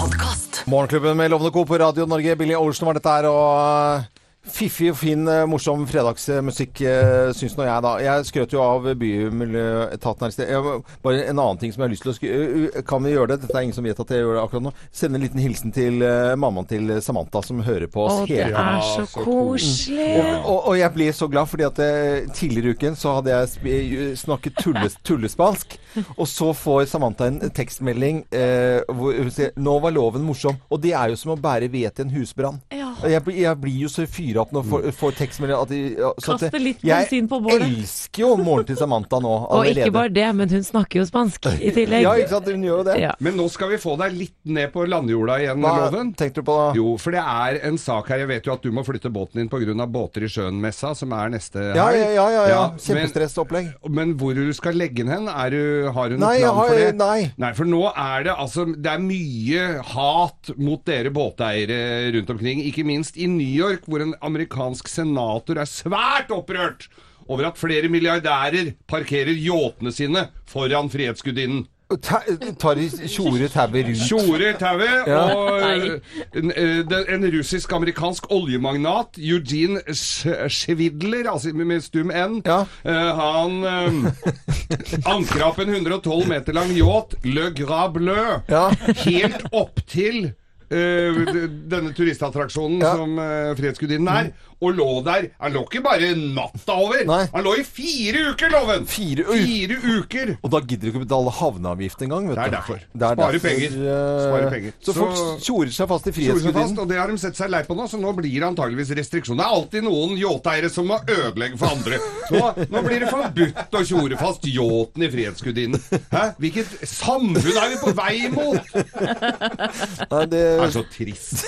Podkast. Morgenklubben med Lovende Coop på Radio Norge. Billy Ocean var dette her, og eh, fiffig, fin, eh, morsom fredagsmusikk, eh, syns nå jeg, da. Jeg skrøt jo av Bymiljøetaten her i sted. Jeg må- Bare en annen ting som jeg har lyst til å skry- eh, Kan vi gjøre det? Dette er ingen som vet at jeg gjør det akkurat nå. Sende en liten hilsen til eh, mammaen til Samantha, som hører på oss Å, det hele tiden. er så så koselig. Og, og jeg ble så glad, fordi at eh, tidligere i uken så hadde jeg sp- eh, snakket tulles, tullespansk, og så får Samantha en tekstmelding eh, hvor hun sier 'Nå var loven morsom', og det er jo som å bære ved til en husbrann. Og Jeg, blir- jeg blir jo så fyra opp når jeg får, Mm. får tekstmelding at de- ja, så at Kaste det- litt bensin på bålet. Jeg elsker jo morgenen til Samantha nå Og allerede. ikke bare det, men hun snakker jo spansk i tillegg. Ja, ikke sant? Hun gjør jo det. Ja. Men nå skal vi få deg litt ned på landjorda igjen, Hva Loven. tenkte du på da? Jo, for det er en sak her. Jeg vet jo at du må flytte båten din pga. båter i sjøen-messa, som er neste Ja, helg. ja, ja. ja, ja. men- Kjempestressopplegg. Men hvor du skal legge den hen, er du, har du noe Nei, jeg plan har- for det? nei. for nå er det altså Det er mye hat mot dere båteiere rundt omkring. Ikke minst i New York, hvor en amerikansk senator er svært opprørt over at flere milliardærer parkerer yachtene sine foran Frihetsgudinnen. Ta, tar de tjore tauet rundt. Tjore tauet Ja. og eh, en, eh, den- en russisk-amerikansk oljemagnat, Eugene Sch- Schwidler, altså med stum N, Ja. eh, han eh, ankra opp en 112 meter lang yacht, Le Gras Bleu, Ja. helt opp til eh, d- denne turistattraksjonen Ja. som uh, Frihetsgudinnen er, og lå der. Han lå ikke bare natta over, Nei. han lå i fire uker, loven! Fire u- fire uker! Og da gidder du ikke betale havneavgift engang. vet Det er du. derfor. Det er Spare derfor, penger. eh, Spare penger. Så, Så- folk tjorer seg fast i Gjorde seg fast, frihetsgudinnen. og det har de sett seg lei på nå, så nå blir det antageligvis restriksjoner. Det er alltid noen yachteiere som må ødelegge for andre. Så nå blir det forbudt å tjore fast yachten i Frihetsgudinnen. Hæ? Hvilket samfunn er vi på vei mot? Det Nei, det, er så trist.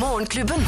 Morgenklubben.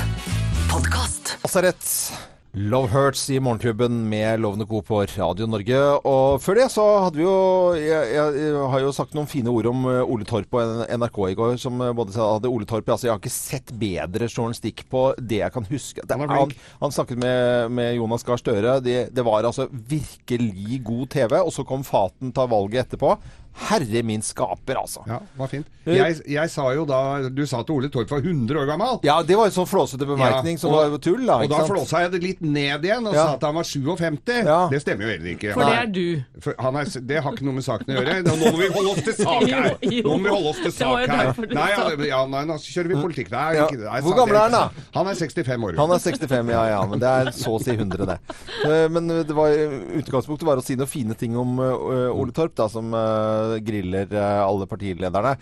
Podkast. Lazaret. Love Hurts i Morgenklubben med Lovende Co. på Radio Norge. Og før det så hadde vi jo jeg, jeg, jeg har jo sagt noen fine ord om eh, Ole Torp på N- NRK i går. Som eh, både sa hadde Ole Torp Altså, jeg har ikke sett bedre journalistikk på det jeg kan huske. Det, Han er han, flink. han snakket med, med Jonas Gahr Støre. Det, det var altså virkelig god TV. Og så kom Faten ta valget etterpå. Herre min skaper, altså. Ja, var fint. Jeg, jeg sa jo da Du sa til Ole Torp var 100 år gammel. Ja, det var en sånn flåsete bemerkning som var jo tull, da. Og ikke da sant? flåsa jeg det litt ned igjen og Ja. sa at han var 57. Ja. Det stemmer jo heller ikke. For det er du. For han er, det har ikke noe med saken å gjøre. Nå må vi holde oss til sak her! Jo, jo. Nå må vi holde oss til Det var jo sak her. derfor du Nei, sa ja, ja, nei, nå kjører vi politikk. Nei, Ja. ikke, nei, Hvor sa gammel det. er han da? Han er 65 år. Han er 65, ja ja. Men det er så å si 100, det. Eh, Men det var, eh, utgangspunktet var å si noen fine ting om eh, Ole Torp, da, som eh, griller eh, alle partilederne.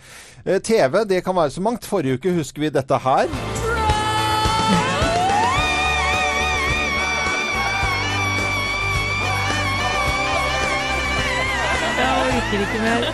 Eh, TV, det kan være så mangt. Forrige uke husker vi dette her. Jeg orker ikke mer.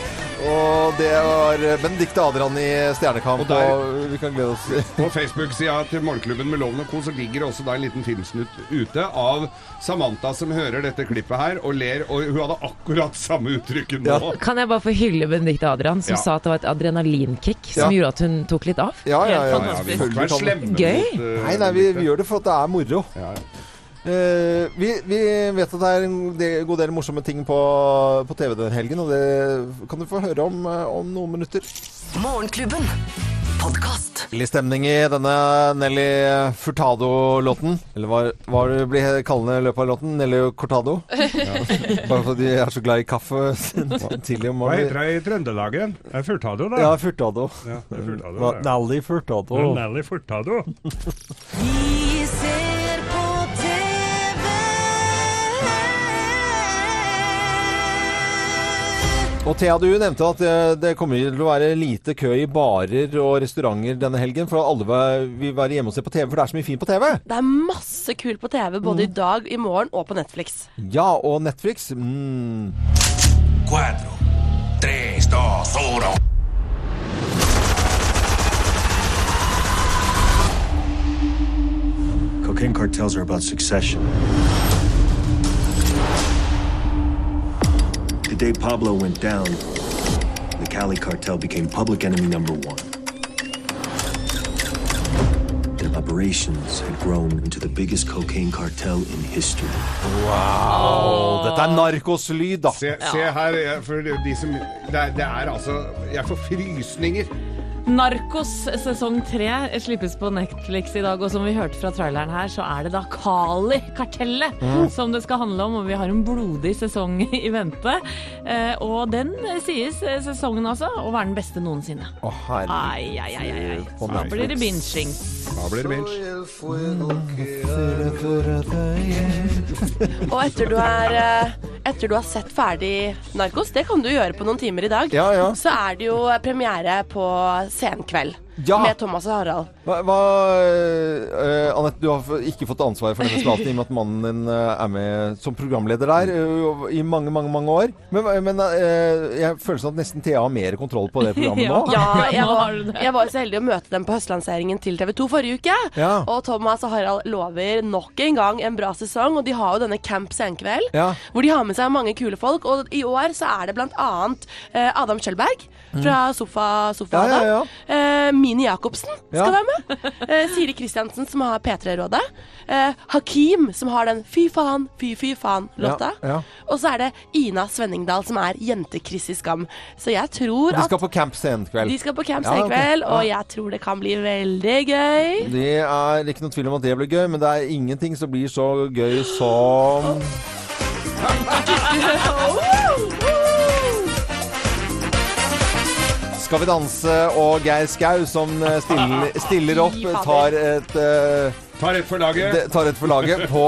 Og det var eh, Benedicte Adrian i Stjernekamp, og, Og der- vi kan glede oss. På Facebook-sida til Morgenklubben med Loven og Co. så ligger det også da en liten filmsnutt ute av Samantha som hører dette klippet her og ler, og hun hadde akkurat samme uttrykket nå. Kan jeg bare få hylle Benedicte Adrian, som Ja. sa at det var et adrenalinkick som Ja. gjorde at hun tok litt av? Ja, ja, ja. Helt Ja, vi selvfølgelig må ikke være kan- slemme Gøy. mot eh, Nei, nei, vi, vi Benedicte. gjør det for at det er moro. Ja, ja. Eh, vi, vi vet at det er en del- god del morsomme ting på, på TV den helgen, og det kan du få høre om, eh, om noen minutter. Morgenklubben. Podkast. Deilig stemning i denne Nelly Furtado-låten. Eller hva, hva du blir kallende i løpet av låten? Nelly Cortado? Bare fordi jeg er så glad i kaffe tidlig om morgenen. det i Trøndelagen? Det er Furtado, da. Ja, Furtado. Ja, det er Furtado. Hva- Nelly Furtado. Nelly Furtado. Vi ser på TV. Og Thea, du nevnte at eh, det kommer til å være lite kø i barer og restauranter denne helgen, for alle va- vil være hjemme og se på TV, for det er så mye fint på TV. Det er masse kul på TV, både i dag, i morgen og på Netflix. Ja, og Netflix. Mm. Cuatro, tres, dos, uno. Cocaine cartels are about succession. The day Pablo went down, the Cali cartel became public enemy number one. Their operations had grown into the biggest cocaine cartel in history. Og dette er narkoslyd, da. Se, se her, jeg- for de som det, er- det er altså Jeg får frysninger. Narkos sesong tre slippes på Netflix i dag, og som vi hørte fra traileren her, så er det da Kali-kartellet som det skal handle om, og vi har en blodig sesong i vente. Eh, og den eh, sies, eh, sesongen altså, å være den beste noensinne. Å, herregud. Ai, ai, ai, ai, ai. På Da blir det Netflix. binging. Da blir det binge. Og etter du, er, eh, etter du har sett ferdig Narkos, det kan du gjøre på noen timer i dag, Ja, ja. så er det jo premiere på Senkveld Ja. med Thomas og Harald. Hva, hva eh, Anette, du har f- ikke fått ansvar for denne spalten i og med at mannen din eh, er med som programleder der eh, i mange, mange mange år. Men, men eh, jeg føler sånn at nesten Thea har mer kontroll på det programmet nå. Ja. Ja, jeg nå har var, du det. jeg var jo så heldig å møte dem på høstlanseringen til TV 2 forrige uke. Ja. Og Thomas og Harald lover nok en gang en bra sesong, og de har jo denne Camp Senkveld, Ja. hvor de har med seg mange kule folk. Og i år så er det blant annet eh, Adam Kjølberg fra Sofa, sofa Ja, ja, ja. Adam, eh, Mini Jacobsen skal Ja. være med. Eh, Siri Kristiansen, som har P3-rådet. Eh, Hakim, som har den Fy faen, fy fy faen-låta. Ja, ja. Og så er det Ina Svenningdal, som er jente-Chris i Skam. Så jeg tror De at skal på camp senkveld. de skal på camp Ja, i ok. kveld, og Ja. jeg tror det kan bli veldig gøy. Det er ikke noe tvil om at det blir gøy, men det er ingenting som blir så gøy som Skal vi danse og Geir Skau som eh, stiller, stiller opp, tar et eh, Tar et for laget. tar et for laget på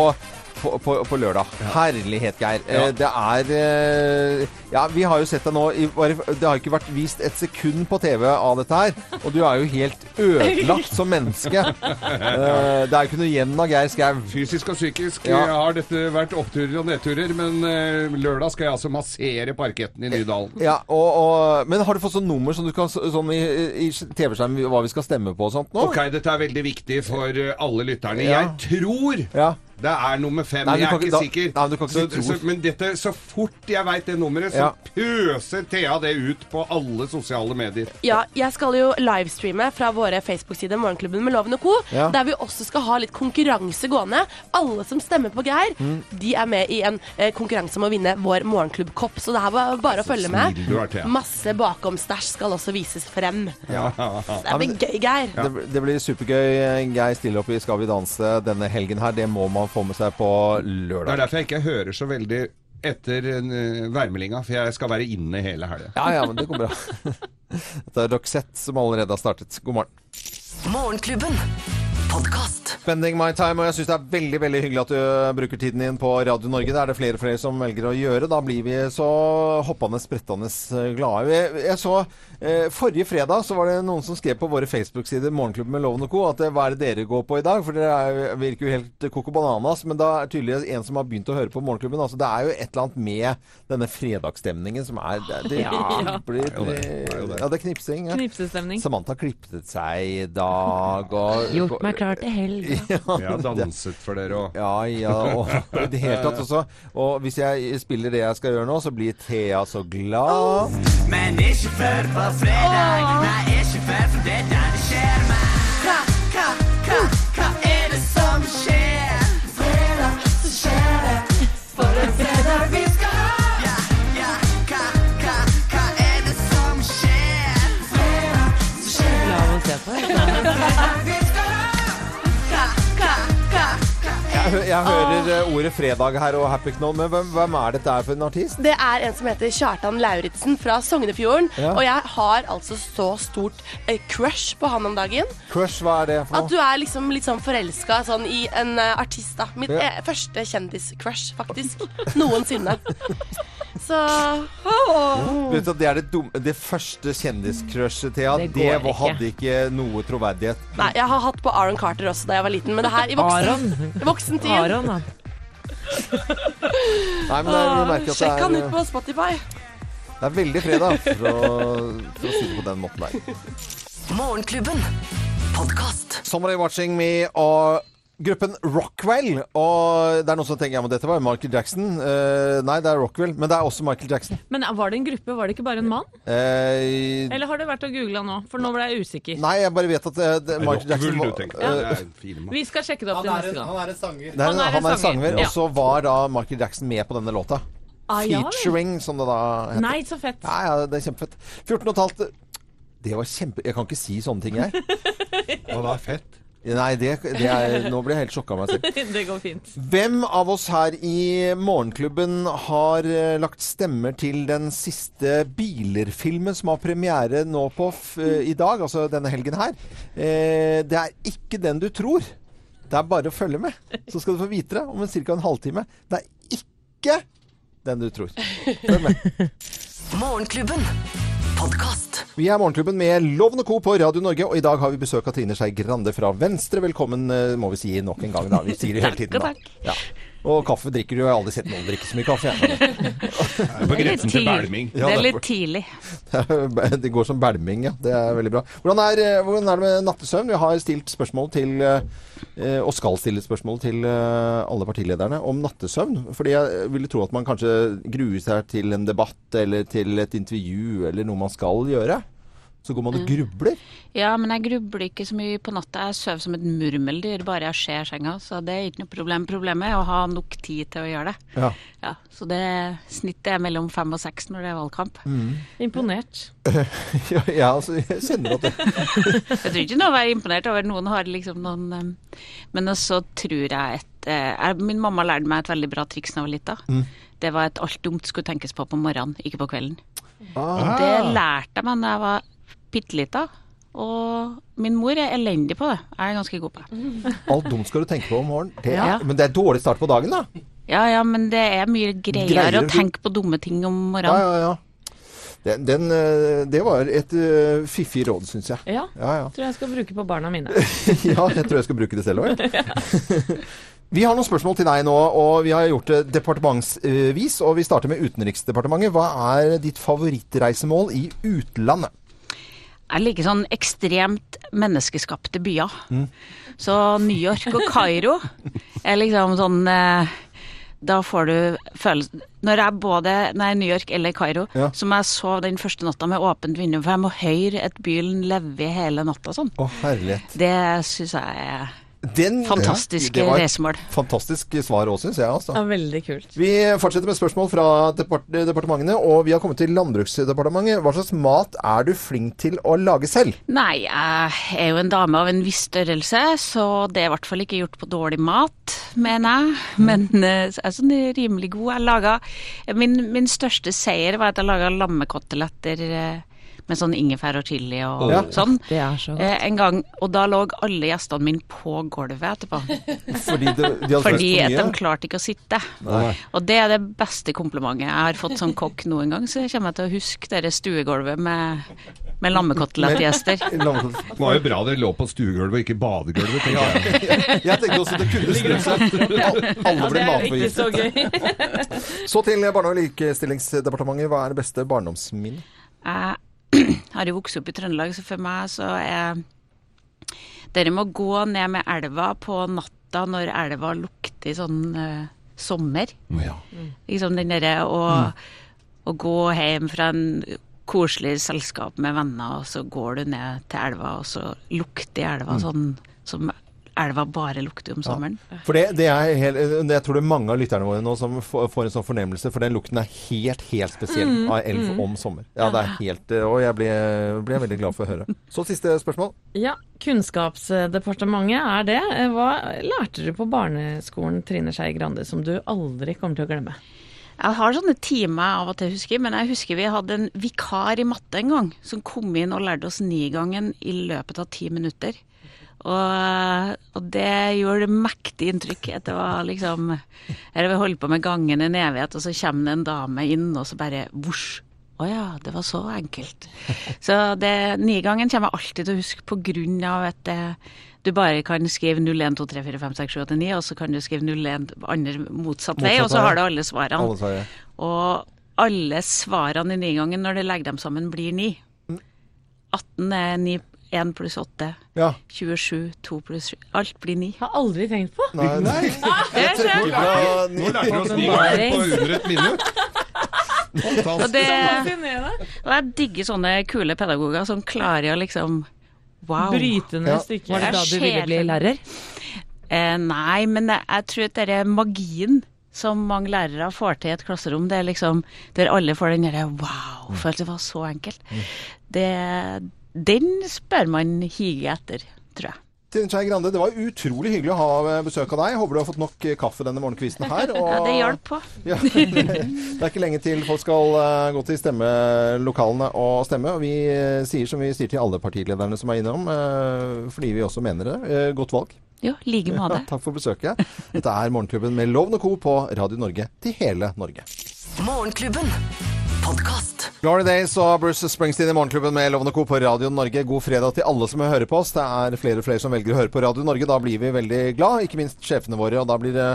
på, på, på lørdag. Herlighet, Geir. Eh, Ja. Det er eh, Ja, vi har jo sett deg nå i, bare, Det har ikke vært vist et sekund på TV av dette her. Og du er jo helt ødelagt som menneske. Eh, Det er jo ikke noe igjen av Geir Skau. Fysisk og psykisk Ja. eh, har dette vært oppturer og nedturer, men eh, lørdag skal jeg altså massere parketten i Nydalen. Ja, og, og, men har du fått sånn nummer som du kan, s- sånn i, i TV-skjermen hva vi skal stemme på og sånt nå? Ok, dette er veldig viktig for eh, alle lytterne. Ja. Jeg tror det er nummer fem. Nei, men du jeg er kan ikke- ikke da- sikker. Nei, men du kan ikke så, si tror. så, men dette, så fort jeg veit det nummeret, så Ja. pøser Thea det ut på alle sosiale medier. Ja, jeg skal jo livestreame fra våre Facebook-sider Morgenklubben med Loven og Co. Ja. Der vi også skal ha litt konkurranse gående. Alle som stemmer på Geir, Mm. de er med i en eh, konkurranse om å vinne vår morgenklubbkopp. Så det her var bare å følge med. snill du er, Thea. Masse bakom-stæsj skal også vises frem. Ja. Det blir gøy, Geir. Det, det blir supergøy. Geir stiller opp i Skal vi danse denne helgen her. Det må man få med seg på Det er lørdag. derfor jeg ikke hører så veldig etter eh, værmeldinga, for jeg skal være inne hele helga. Ja, ja, men det går bra. Dette er Roxette som allerede har startet. God morgen. Morgenklubben. Podkast. Spending my time, og jeg syns det er veldig veldig hyggelig at du eh, bruker tiden din på Radio Norge. Det er det flere og flere som velger å gjøre. Da blir vi så hoppende, sprettende glade. Jeg, jeg så eh, Forrige fredag så var det noen som skrev på våre Facebook-sider Morgenklubben med Loven og Co. at eh, hva er det dere går på i dag? For dere er, virker jo helt koko bananas. Men da er tydeligvis en som har begynt å høre på Morgenklubben. Altså, det er jo et eller annet med denne fredagsstemningen som er Det, det, Ja. blir, Det er jo det. Det er jo det. ja, det er knipsing. Ja. Knipsestemning. Samantha klippet seg i dag og Gjort meg klar til helg. Jeg har danset for dere òg. Ja, ja. Og, i det hele tatt også. Og hvis jeg spiller det jeg skal gjøre nå, så blir Thea så glad. Men ikke før på fredag. Nei, ikke før for det er da det skjer meg. Hva, hva, hva, hva er det som skjer? Fredag, så skjer det. For en fredag vi skal ha. Ja, ja, hva, hva, hva er det som skjer? Fredag, så skjer det. Glad å se på. Fredag vi skal ha. Hva, hva, hva, hva Jeg, hø jeg hører eh, ordet 'fredag' her og Happy Knoll, men hvem, hvem er dette her for en artist? Det er en som heter Kjartan Lauritzen fra Sognefjorden. Ja. Og jeg har altså så stort eh, crush på han om dagen. Crush, hva er det for At du noe? er liksom litt sånn forelska sånn, i en eh, artist, da. Mitt Ja. eh, første kjendiscrush, faktisk. Noensinne. Så åh. Vet du, at det er det, dumme, det første kjendiscrushet, Thea. Det, Det går var- ikke. hadde ikke noe troverdighet. Nei, jeg har hatt på Aaron Carter også da jeg var liten, men det her i voksen, voksen tid. Aaron, da. Nei, men det, er- vi merker at det Sjekk han er, eh, ut på Spotify. det er veldig fredag, for å, for å si det på den måten der. Morgenklubben. Podkast. Somebody Watching Me og gruppen Rockwell. Og det er noen som tenker ja, men dette var jo Michael Jackson. Eh, nei, det er Rockwell, men det er også Michael Jackson. Men var det en gruppe, var det ikke bare en mann? Eh, Eller har det vært å google nå? For nå ble jeg usikker. nei, jeg bare vet at eh, det, Michael Jackson var- eh, Vi skal sjekke det opp til er neste en- gang. han er en det er en- han er en sanger, og så var da Michael Jackson med på denne låta. Ah, ja vel. Featuring, som det da heter. Nei, så fett. Ja, ja, det er kjempefett. 14,5 Det var kjempe... Jeg kan ikke si sånne ting, jeg. Og det er fett. Nei, det, det er, nå ble jeg helt sjokka av meg selv. det går fint. Hvem av oss her i Morgenklubben har eh, lagt stemmer til den siste Biler-filmen som har premiere nå på f eh, i dag, altså denne helgen her? Eh, det er ikke den du tror. Det er bare å følge med, så skal du få vite det om en ca. en halvtime. Det er ikke den du tror. Morgenklubben. Podkast. Vi er Morgenklubben med Loven og Co. på Radio Norge, og i dag har vi besøk av Trine Skei Grande fra Venstre. Velkommen, eh, må vi si nok en gang, da. Vi sier det hele tiden, da. Ja. Og kaffe drikker du. Jeg har aldri sett noen drikke så mye kaffe. Jeg. På grensen til bælming. Ja, det er det litt tidlig. Det går som bælming, ja. Det er veldig bra. Hvordan er, eh, hvordan er det med nattesøvn? Vi har stilt spørsmål til eh, og skal stille spørsmål til eh, alle partilederne om nattesøvn. Fordi jeg ville tro at man kanskje gruer seg til en debatt eller til et intervju eller noe man skal gjøre. Så går man og Mm. grubler. Ja, men jeg grubler ikke så mye på natta. Jeg sover som et murmeldyr bare jeg ser senga, så det er ikke noe problem. Problemet er å ha nok tid til å gjøre det. Ja. Ja, så det snittet er mellom fem og seks når det er valgkamp. Mm. Imponert. ja, ja, altså, jeg kjenner at det Jeg tror ikke noe å være imponert over. Noen har liksom noen em, Men også tror jeg et eh, jeg- Min mamma lærte meg et veldig bra triks da jeg var lita. Mm. Det var at alt dumt skulle tenkes på på morgenen, ikke på kvelden. Ah. Og det lærte jeg meg da jeg var bitte lita. Og min mor er elendig på det. Jeg er ganske god på det. Alt dumt skal du tenke på om morgenen. Det, Ja. Men det er dårlig start på dagen, da. Ja ja, men det er mye greiere, Greiere, å du- tenke på dumme ting om morgenen. Ja, ja, ja. Den, den, eh, det var et eh, fiffig råd, syns jeg. Ja, Ja, ja. tror jeg skal bruke på barna mine. ja, jeg tror jeg skal bruke det selv òg. Vi har noen spørsmål til deg nå, og vi har gjort det departementsvis. Og vi starter med Utenriksdepartementet. Hva er ditt favorittreisemål i utlandet? Jeg liker sånn ekstremt menneskeskapte byer. Så New York og Kairo er liksom sånn eh, Da får du følelsen Når jeg både Nei, New York eller Kairo, Ja. som jeg sov den første natta med åpent vindu, for jeg må høre at byen lever hele natta sånn. Å, herlighet. Det syns jeg er Den, Fantastiske det var et reisemål. Fantastisk svar òg, syns jeg. Altså. Ja, veldig kult. Vi fortsetter med spørsmål fra depart departementene, og vi har kommet til Landbruksdepartementet. Hva slags mat er du flink til å lage selv? Nei, jeg er jo en dame av en viss størrelse, så det er i hvert fall ikke gjort på dårlig mat, mener jeg. Men Mm. eh, jeg er sånn rimelig god. Jeg laga min, min største seier var at jeg laga lammekoteletter eh, med sånn ingefær og chili og Ja. sånn. Det er så godt. Eh, en gang, og da lå alle gjestene mine på gulvet etterpå. Fordi det- de hadde Fordi spist for at de mye? klarte ikke å sitte. Nei. Og det er det beste komplimentet jeg har fått som kokk noen gang, så jeg kommer til å huske det stuegulvet med, med lammekotelettgjester. Det var jo bra det lå på stuegulvet og ikke badegulvet, tenker jeg. Jeg tenkte også det kunne snu seg. Al- Alle ble matforgiftet. Så til Barne- og likestillingsdepartementet. Hva er det beste barndomsminnet? Jeg har jo vokst opp i Trøndelag, så for meg så er Dere må gå ned med elva på natta når elva lukter sånn eh, sommer. Liksom den derre å, å gå hjem fra en koselig selskap med venner, og så går du ned til elva, og så lukter Mm. elva sånn som elva bare lukter om sommeren. For det, det er helt, eh, Jeg tror det er mange av lytterne våre nå som får får en sånn fornemmelse, for den lukten er helt, helt spesiell Mm, av elv mm. om sommer. Ja, det er helt eh, Og jeg ble, ble veldig glad for å høre. Så siste spørsmål. Ja, Kunnskapsdepartementet er det. Hva lærte du på barneskolen, Trine Skei Grande, som du aldri kommer til å glemme? Jeg har sånne timer av og til, husker jeg, men jeg husker vi hadde en vikar i matte en gang, som kom inn og lærte oss nigangen i løpet av ti minutter. Og, og det gjorde mektig inntrykk. At det var liksom Her har vi holdt på med gangen en evighet, og så kommer det en dame inn, og så bare vosj. Å ja, det var så enkelt. Så det, nigangen kommer jeg alltid til å huske på grunn av at det, du bare kan skrive 01, 2, 3, 4, 5, 6, 7, 8, 9, og så kan du skrive 01 andre motsatt vei, og Motsatt vei. så har du alle svarene. Alle svarene. Og alle svarene i nigangen når du legger dem sammen, blir ni. 18 er 9, 1 pluss 8. 27, 2 pluss 7. Alt blir 9. Har aldri tenkt på. Nei, nei. Ah, det Jeg er tror- skjønt. Nå lærte vi oss nigangen på under et minutt. Og, det, Fantastisk. og jeg digger sånne kule pedagoger som klarer å liksom Wow. Bryte ned Ja. stykker. Var det da du ville bli lærer? Eh, nei, men jeg, jeg tror at denne magien som mange lærere får til i et klasserom, det er liksom der alle får den derre wow, for at det var så enkelt. Det, den spør man hige etter, tror jeg. Trine Skei Grande, det var utrolig hyggelig å ha eh, besøk av deg. Håper du har fått nok eh, kaffe denne morgenkvisten her. Ja, det hjalp på. Ja, det er ikke lenge til folk skal eh, gå til stemmelokalene og stemme. Og vi eh, sier som vi sier til alle partilederne som er innom, eh, fordi vi også mener det. eh, godt valg. Jo, like med det. Ja, takk for besøket. Dette er Morgenklubben med Loven og Co. på Radio Norge til hele Norge. Morgenklubben. Podkast. Glory Days og Bruce Springsteen i Morgenklubben med Loven og Co. på Radio Norge. God fredag til alle som hører på oss. Det er flere og flere som velger å høre på Radio Norge. Da blir vi veldig glad, ikke minst sjefene våre. Og da blir det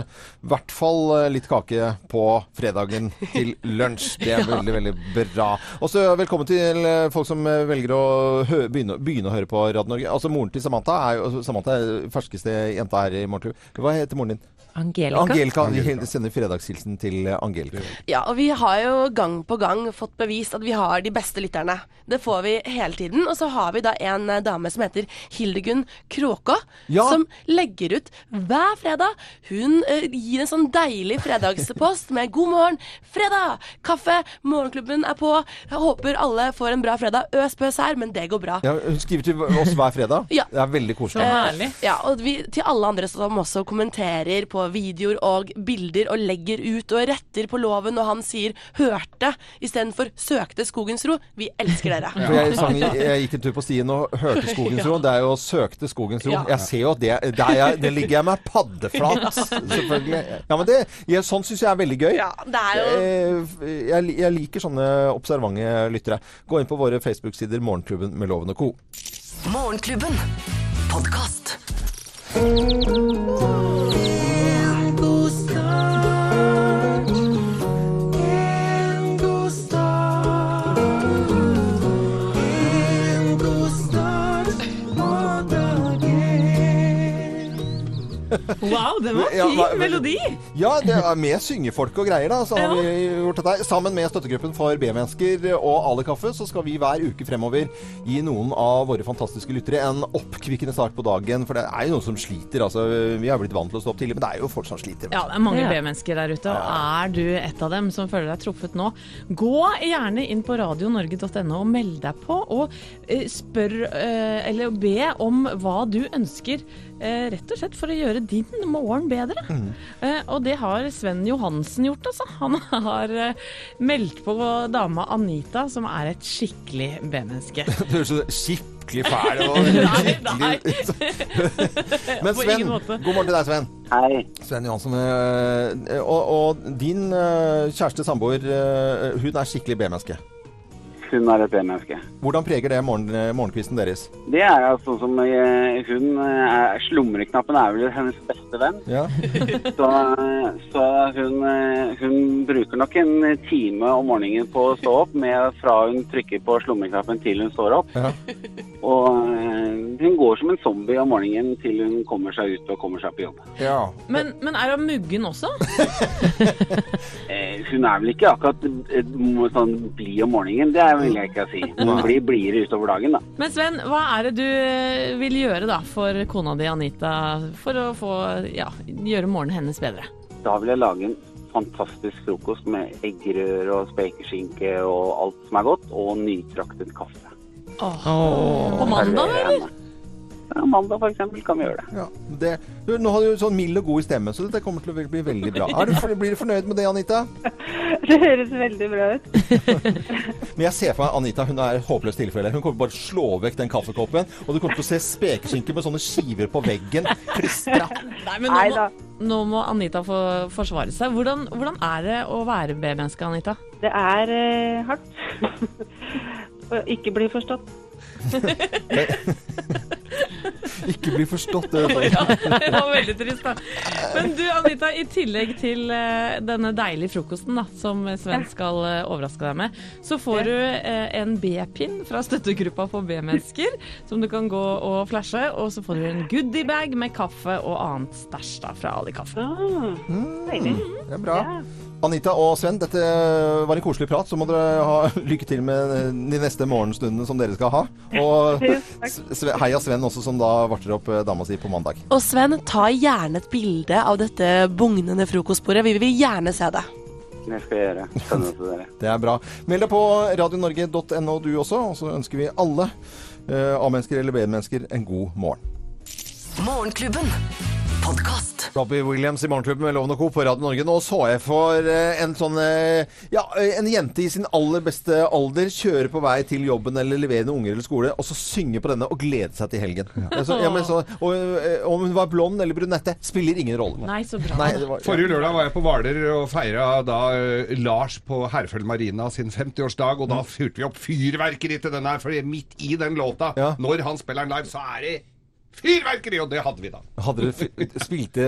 i hvert fall eh, litt kake på fredagen til lunsj. Det er veldig, veldig bra. Og så velkommen til eh, folk som eh, velger å hø begynne, begynne å høre på Radio Norge. Altså moren til Samantha er jo altså, Samantha er ferskeste jenta her i Morgenklubben. Hva heter moren din? Angelica. Angelica. Vi sender fredagshilsen til eh, Angelica. Ja, og vi har jo gang på gang fått bevist at vi har de beste lytterne. Det får vi hele tiden. Og så har vi da en eh, dame som heter Hildegunn Kråkå, Ja. som legger ut hver fredag. Hun eh, gir en sånn deilig fredagspost med 'God morgen, fredag! Kaffe! Morgenklubben er på!' Jeg håper alle får en bra fredag. Øs pøs her, men det går bra. Ja, hun skriver til oss hver fredag. Ja. Det er veldig koselig. Eh, ja, og vi, til alle andre som også kommenterer på videoer og bilder og legger ut og retter på loven og han sier 'hørte' istedenfor 'søkte skogens ro'. Vi elsker dere. For jeg, sang, jeg gikk en tur på stien og hørte Skogens ro. Det er jo søkte Skogens ro. Ja. Jeg ser jo at det, der, jeg, der ligger jeg meg paddeflat, selvfølgelig. Ja, men det, jeg, sånn syns jeg er veldig gøy. Ja, det er jo- Eh, jeg, jeg liker sånne observante lyttere. Gå inn på våre Facebook-sider Morgenklubben med Loven og co. Morgenklubben. Podkast. Wow, det var Ja, fin hva- melodi! Ja, det er med syngefolk og greier, da. Så har vi gjort dette. Sammen med støttegruppen for B-mennesker og Ale Kaffe, så skal vi hver uke fremover gi noen av våre fantastiske lyttere en oppkvikkende start på dagen. For det er jo noen som sliter. Altså, vi har blitt vant til å stå opp tidlig, men det er jo folk som sliter. Ja, det er mange B-mennesker der ute, og er du et av dem som føler deg truffet nå, gå gjerne inn på radionorge.no og meld deg på, og eh, spør eh, eller be om hva du ønsker, eh, rett og slett for å gjøre din morgen bedre. Eh, og det har Sven Johansen gjort, altså. Han har eh, meldt på dama Anita, som er et skikkelig B-menneske. Du høres så skikkelig fæl og Nei, skikkelig Men På Sven, ingen god måte. morgen til deg, Sven. Hei. Sven Johansen. øh, Og, og din øh, kjæreste samboer, øh, hun er skikkelig B-menneske. Hun er et B-menneske. Hvordan preger det morgen, eh, morgenkvisten deres? Det er jo sånn som eh, hun er Slumreknappen er vel hennes beste venn. Ja. Så, så hun, eh, hun bruker nok en time om morgenen på å stå opp, med fra hun trykker på slumreknappen til hun står opp. Og eh, hun går som en zombie om morgenen til hun kommer seg ut og kommer seg på jobb. Men, men er hun muggen også? Eh, Hun er vel ikke akkurat eh, sånn blid om morgenen, det er vil jeg ikke si. Hun Nei. blir blidere utover dagen, da. Men Sven, hva er det du eh, vil gjøre da for kona di Anita for å få, ja, gjøre morgenen hennes bedre? Da vil jeg lage en fantastisk frokost med eggerør og spekeskinke og alt som er godt, og nytraktet kaffe. På mandag, eller? Ja, mandag for eksempel kan vi gjøre det. Ja, det, du, nå har du sånn mild og god stemme, så dette kommer til å bli veldig bra. Er du, for- blir du fornøyd med det, Anita? Det høres veldig bra ut. Men jeg ser for meg Anita, hun er et håpløst tilfelle. Hun kommer bare til å slå vekk den kaffekoppen, og du kommer til å se spekeskinke med sånne skiver på veggen. Nei, men nå må, nå må Anita få forsvare seg. Hvordan, hvordan er det å være B-menneske, Anita? Det er eh, hardt. Å ikke bli forstått. Ikke bli forstått, det. altså. Ja, det var veldig trist, da. Men du, Anita, i tillegg til eh, denne deilige frokosten da, som Sven skal eh, overraske deg med, så får du eh, en B-pin fra støttegruppa for B-mennesker, som du kan gå og flashe. Og så får du en goodiebag med kaffe og annet stæsj da, fra Ali Kaffe. Det er bra. Anita og Sven, dette var en koselig prat. Så må dere ha lykke til med de neste morgenstundene som dere skal ha. Og Sve- heia Sven også, som da varter opp eh, dama si på mandag. Og Sven, ta gjerne et bilde av dette bugnende frokostbordet. Vi vil gjerne se det. Det skal jeg gjøre. Skjønner du dere. Det er bra. Meld deg på radionorge.no du også, og så ønsker vi alle eh, A-mennesker eller B-mennesker en god morgen. Morgenklubben. Podkast. Robbie Williams i Morgenklubben med Loven og Co. på Radio Norge. Nå så jeg for eh, en sånn eh, Ja, eh, en jente i sin aller beste alder kjøre på vei til jobben eller levere noen unger eller skole, og så synge på denne og glede seg til helgen. Jeg Så, jeg ble så, og, eh, om hun var blond eller brunette, spiller ingen rolle. Nei, så bra. Nei, det var- Forrige lørdag var jeg på Hvaler og feira da eh, Lars på Herføl Marina sin 50-årsdag, og da fyrte vi opp fyrverkeri til den her, for midt i den låta, når han spiller den live, så er det fyrverkeri! Og det hadde vi da. Hadde dere fi- spilte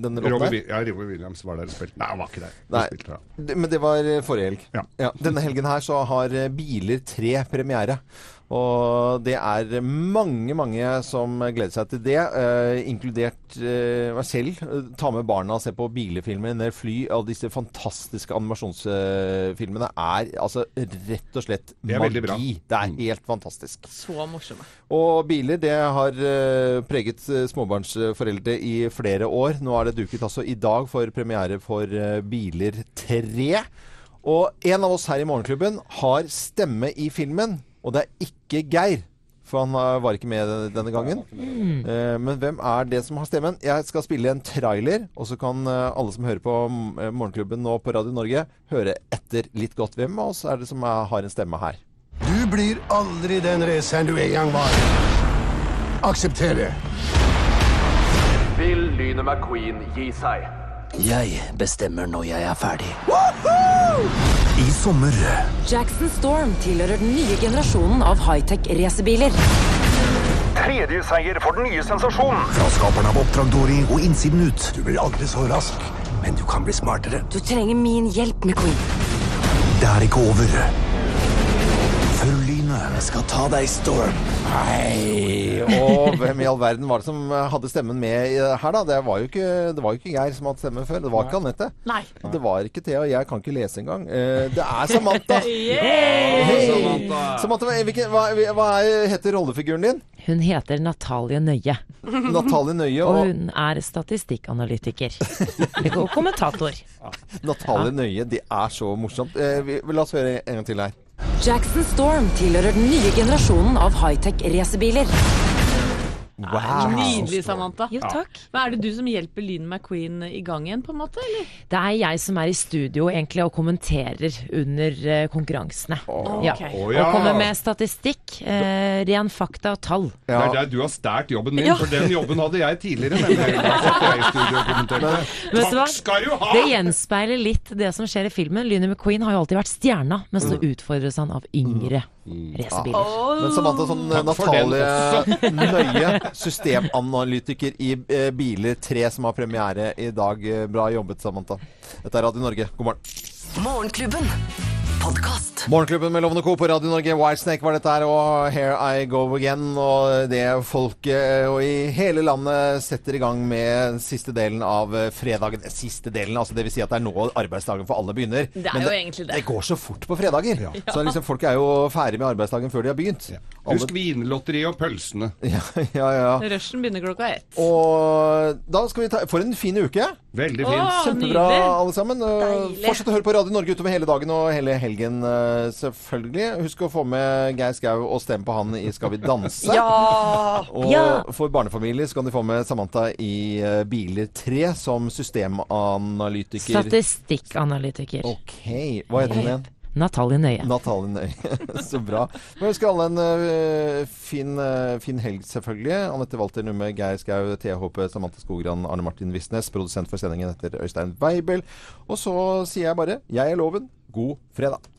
den låta? Robbie, Wi- ja, Robbie Williams var der og spilte. Nei, han var ikke der. Han Nei, spilte da. det- men det var eh, forrige helg. Ja. Denne helgen her så har eh, Biler 3 premiere. Og det er mange, mange som gleder seg til det, eh, inkludert eh, meg selv. Eh, Ta med barna og se på bilefilmer, ned fly. Alle disse fantastiske animasjonsfilmene er altså rett og slett Det er veldig bra. Mm. magi. Det er helt fantastisk. Så morsomme. Og biler, det har eh, preget eh, småbarnsforeldre i flere år. Nå er det duket altså i dag for premiere for eh, Biler 3. Og en av oss her i Morgenklubben har stemme i filmen, og det er ikke Geir. For han eh, var ikke med denne gangen. Mm. Eh, Men hvem er det som har stemmen? Jeg skal spille en trailer, og så kan eh, alle som hører på mm, eh, Morgenklubben nå på Radio Norge, høre etter litt godt. Hvem av oss er det som er, har en stemme her? Du blir aldri den raceren du en gang var. Aksepter det. Vil Lynet McQueen gi seg? Jeg bestemmer når jeg er ferdig. I sommer Jackson Storm tilhører den nye generasjonen av high-tech racerbiler. Tredje seier for den nye sensasjonen. fra skaperen av Oppdrag Dory og Innsiden ut. Du blir aldri så rask, men du kan bli smartere. Du trenger min hjelp, McQueen. Det er ikke over. Før lynet skal ta deg, Storm. Nei, og hvem i all verden var det som eh, hadde stemmen med i det her, da? Det var jo ikke, det var jo ikke Geir som hadde stemmen før. Det var ikke Anette. Nei. Og Det var ikke Thea. Jeg kan ikke lese engang. Eh, Det er Samantha. Yay! Hei! Mm. Samantha, hvilken- hva, hva er- heter rollefiguren din? Hun heter Natalie Nøye. Natalie Nøye og og- hun er statistikkanalytiker. og kommentator. Natalie Nøye. Det er så morsomt. Eh, vi- La oss høre en gang til her. Jackson Storm tilhører den nye generasjonen av high-tech racerbiler. Wow. Nydelig, Samantha. Jo, takk. Men er det du som hjelper Lyn McQueen i gang igjen, på en måte? Eller? Det er jeg som er i studio egentlig og kommenterer under eh, konkurransene. Ja. ok. Å, ja. Og kommer med statistikk, eh, ren fakta og tall. Det er der du har stært jobben min, Ja. for den jobben hadde jeg tidligere. nemlig. Da satt jeg i studio og kommenterte. Men vet du hva? Takk skal du ha! Det gjenspeiler litt det som skjer i filmen. Lynet McQueen har jo alltid vært stjerna, men så utfordres han av yngre racerbiler. Ja. Men Samantha, sånn eh, Takk for den Natalie også. Nøye, systemanalytiker i eh, Biler 3, som har premiere i dag. Eh, Bra jobbet, Samantha. Dette er Radio Norge. God morgen. Morgenklubben. Podkast. Morgenklubben med Lovende Co. på Radio Norge. Whitesnake var dette her, og Here I Go Again. Og det folket eh, og i hele landet setter i gang med siste delen av eh, fredagen. Siste delen, altså det vil si at det er nå arbeidsdagen for alle begynner. Det er Men jo egentlig det. Det går så fort på fredager. Så liksom folk er jo ferdig med arbeidsdagen før de har begynt. Alle- Husk vinlotteriet og pølsene. Ja, ja. Rushen begynner klokka ett. Og da skal vi ta For en fin uke! Veldig fin. Å, Kjempebra, nydelig. alle sammen. Og Fortsett å høre på Radio Norge utover hele dagen og hele helgen, eh, selvfølgelig. Husk å få med Geir Skau og stemme på han i Skal vi danse. Ja! Og Ja. for barnefamilier så kan de få med Samantha i eh, Biler 3 som systemanalytiker. Statistikkanalytiker. Oh. Ok, Hva heter hun igjen? Natalie Nøye. Natalie Nøye. Så bra. Vi ønsker alle en eh, fin, eh, fin helg, selvfølgelig. Anette Walter Numme, Geir Skau, Thea Håpe, Samantha Skogran, Arne Martin Visnes, produsent for sendingen heter Øystein Weibel. Og så sier jeg bare jeg er Loven. God fredag.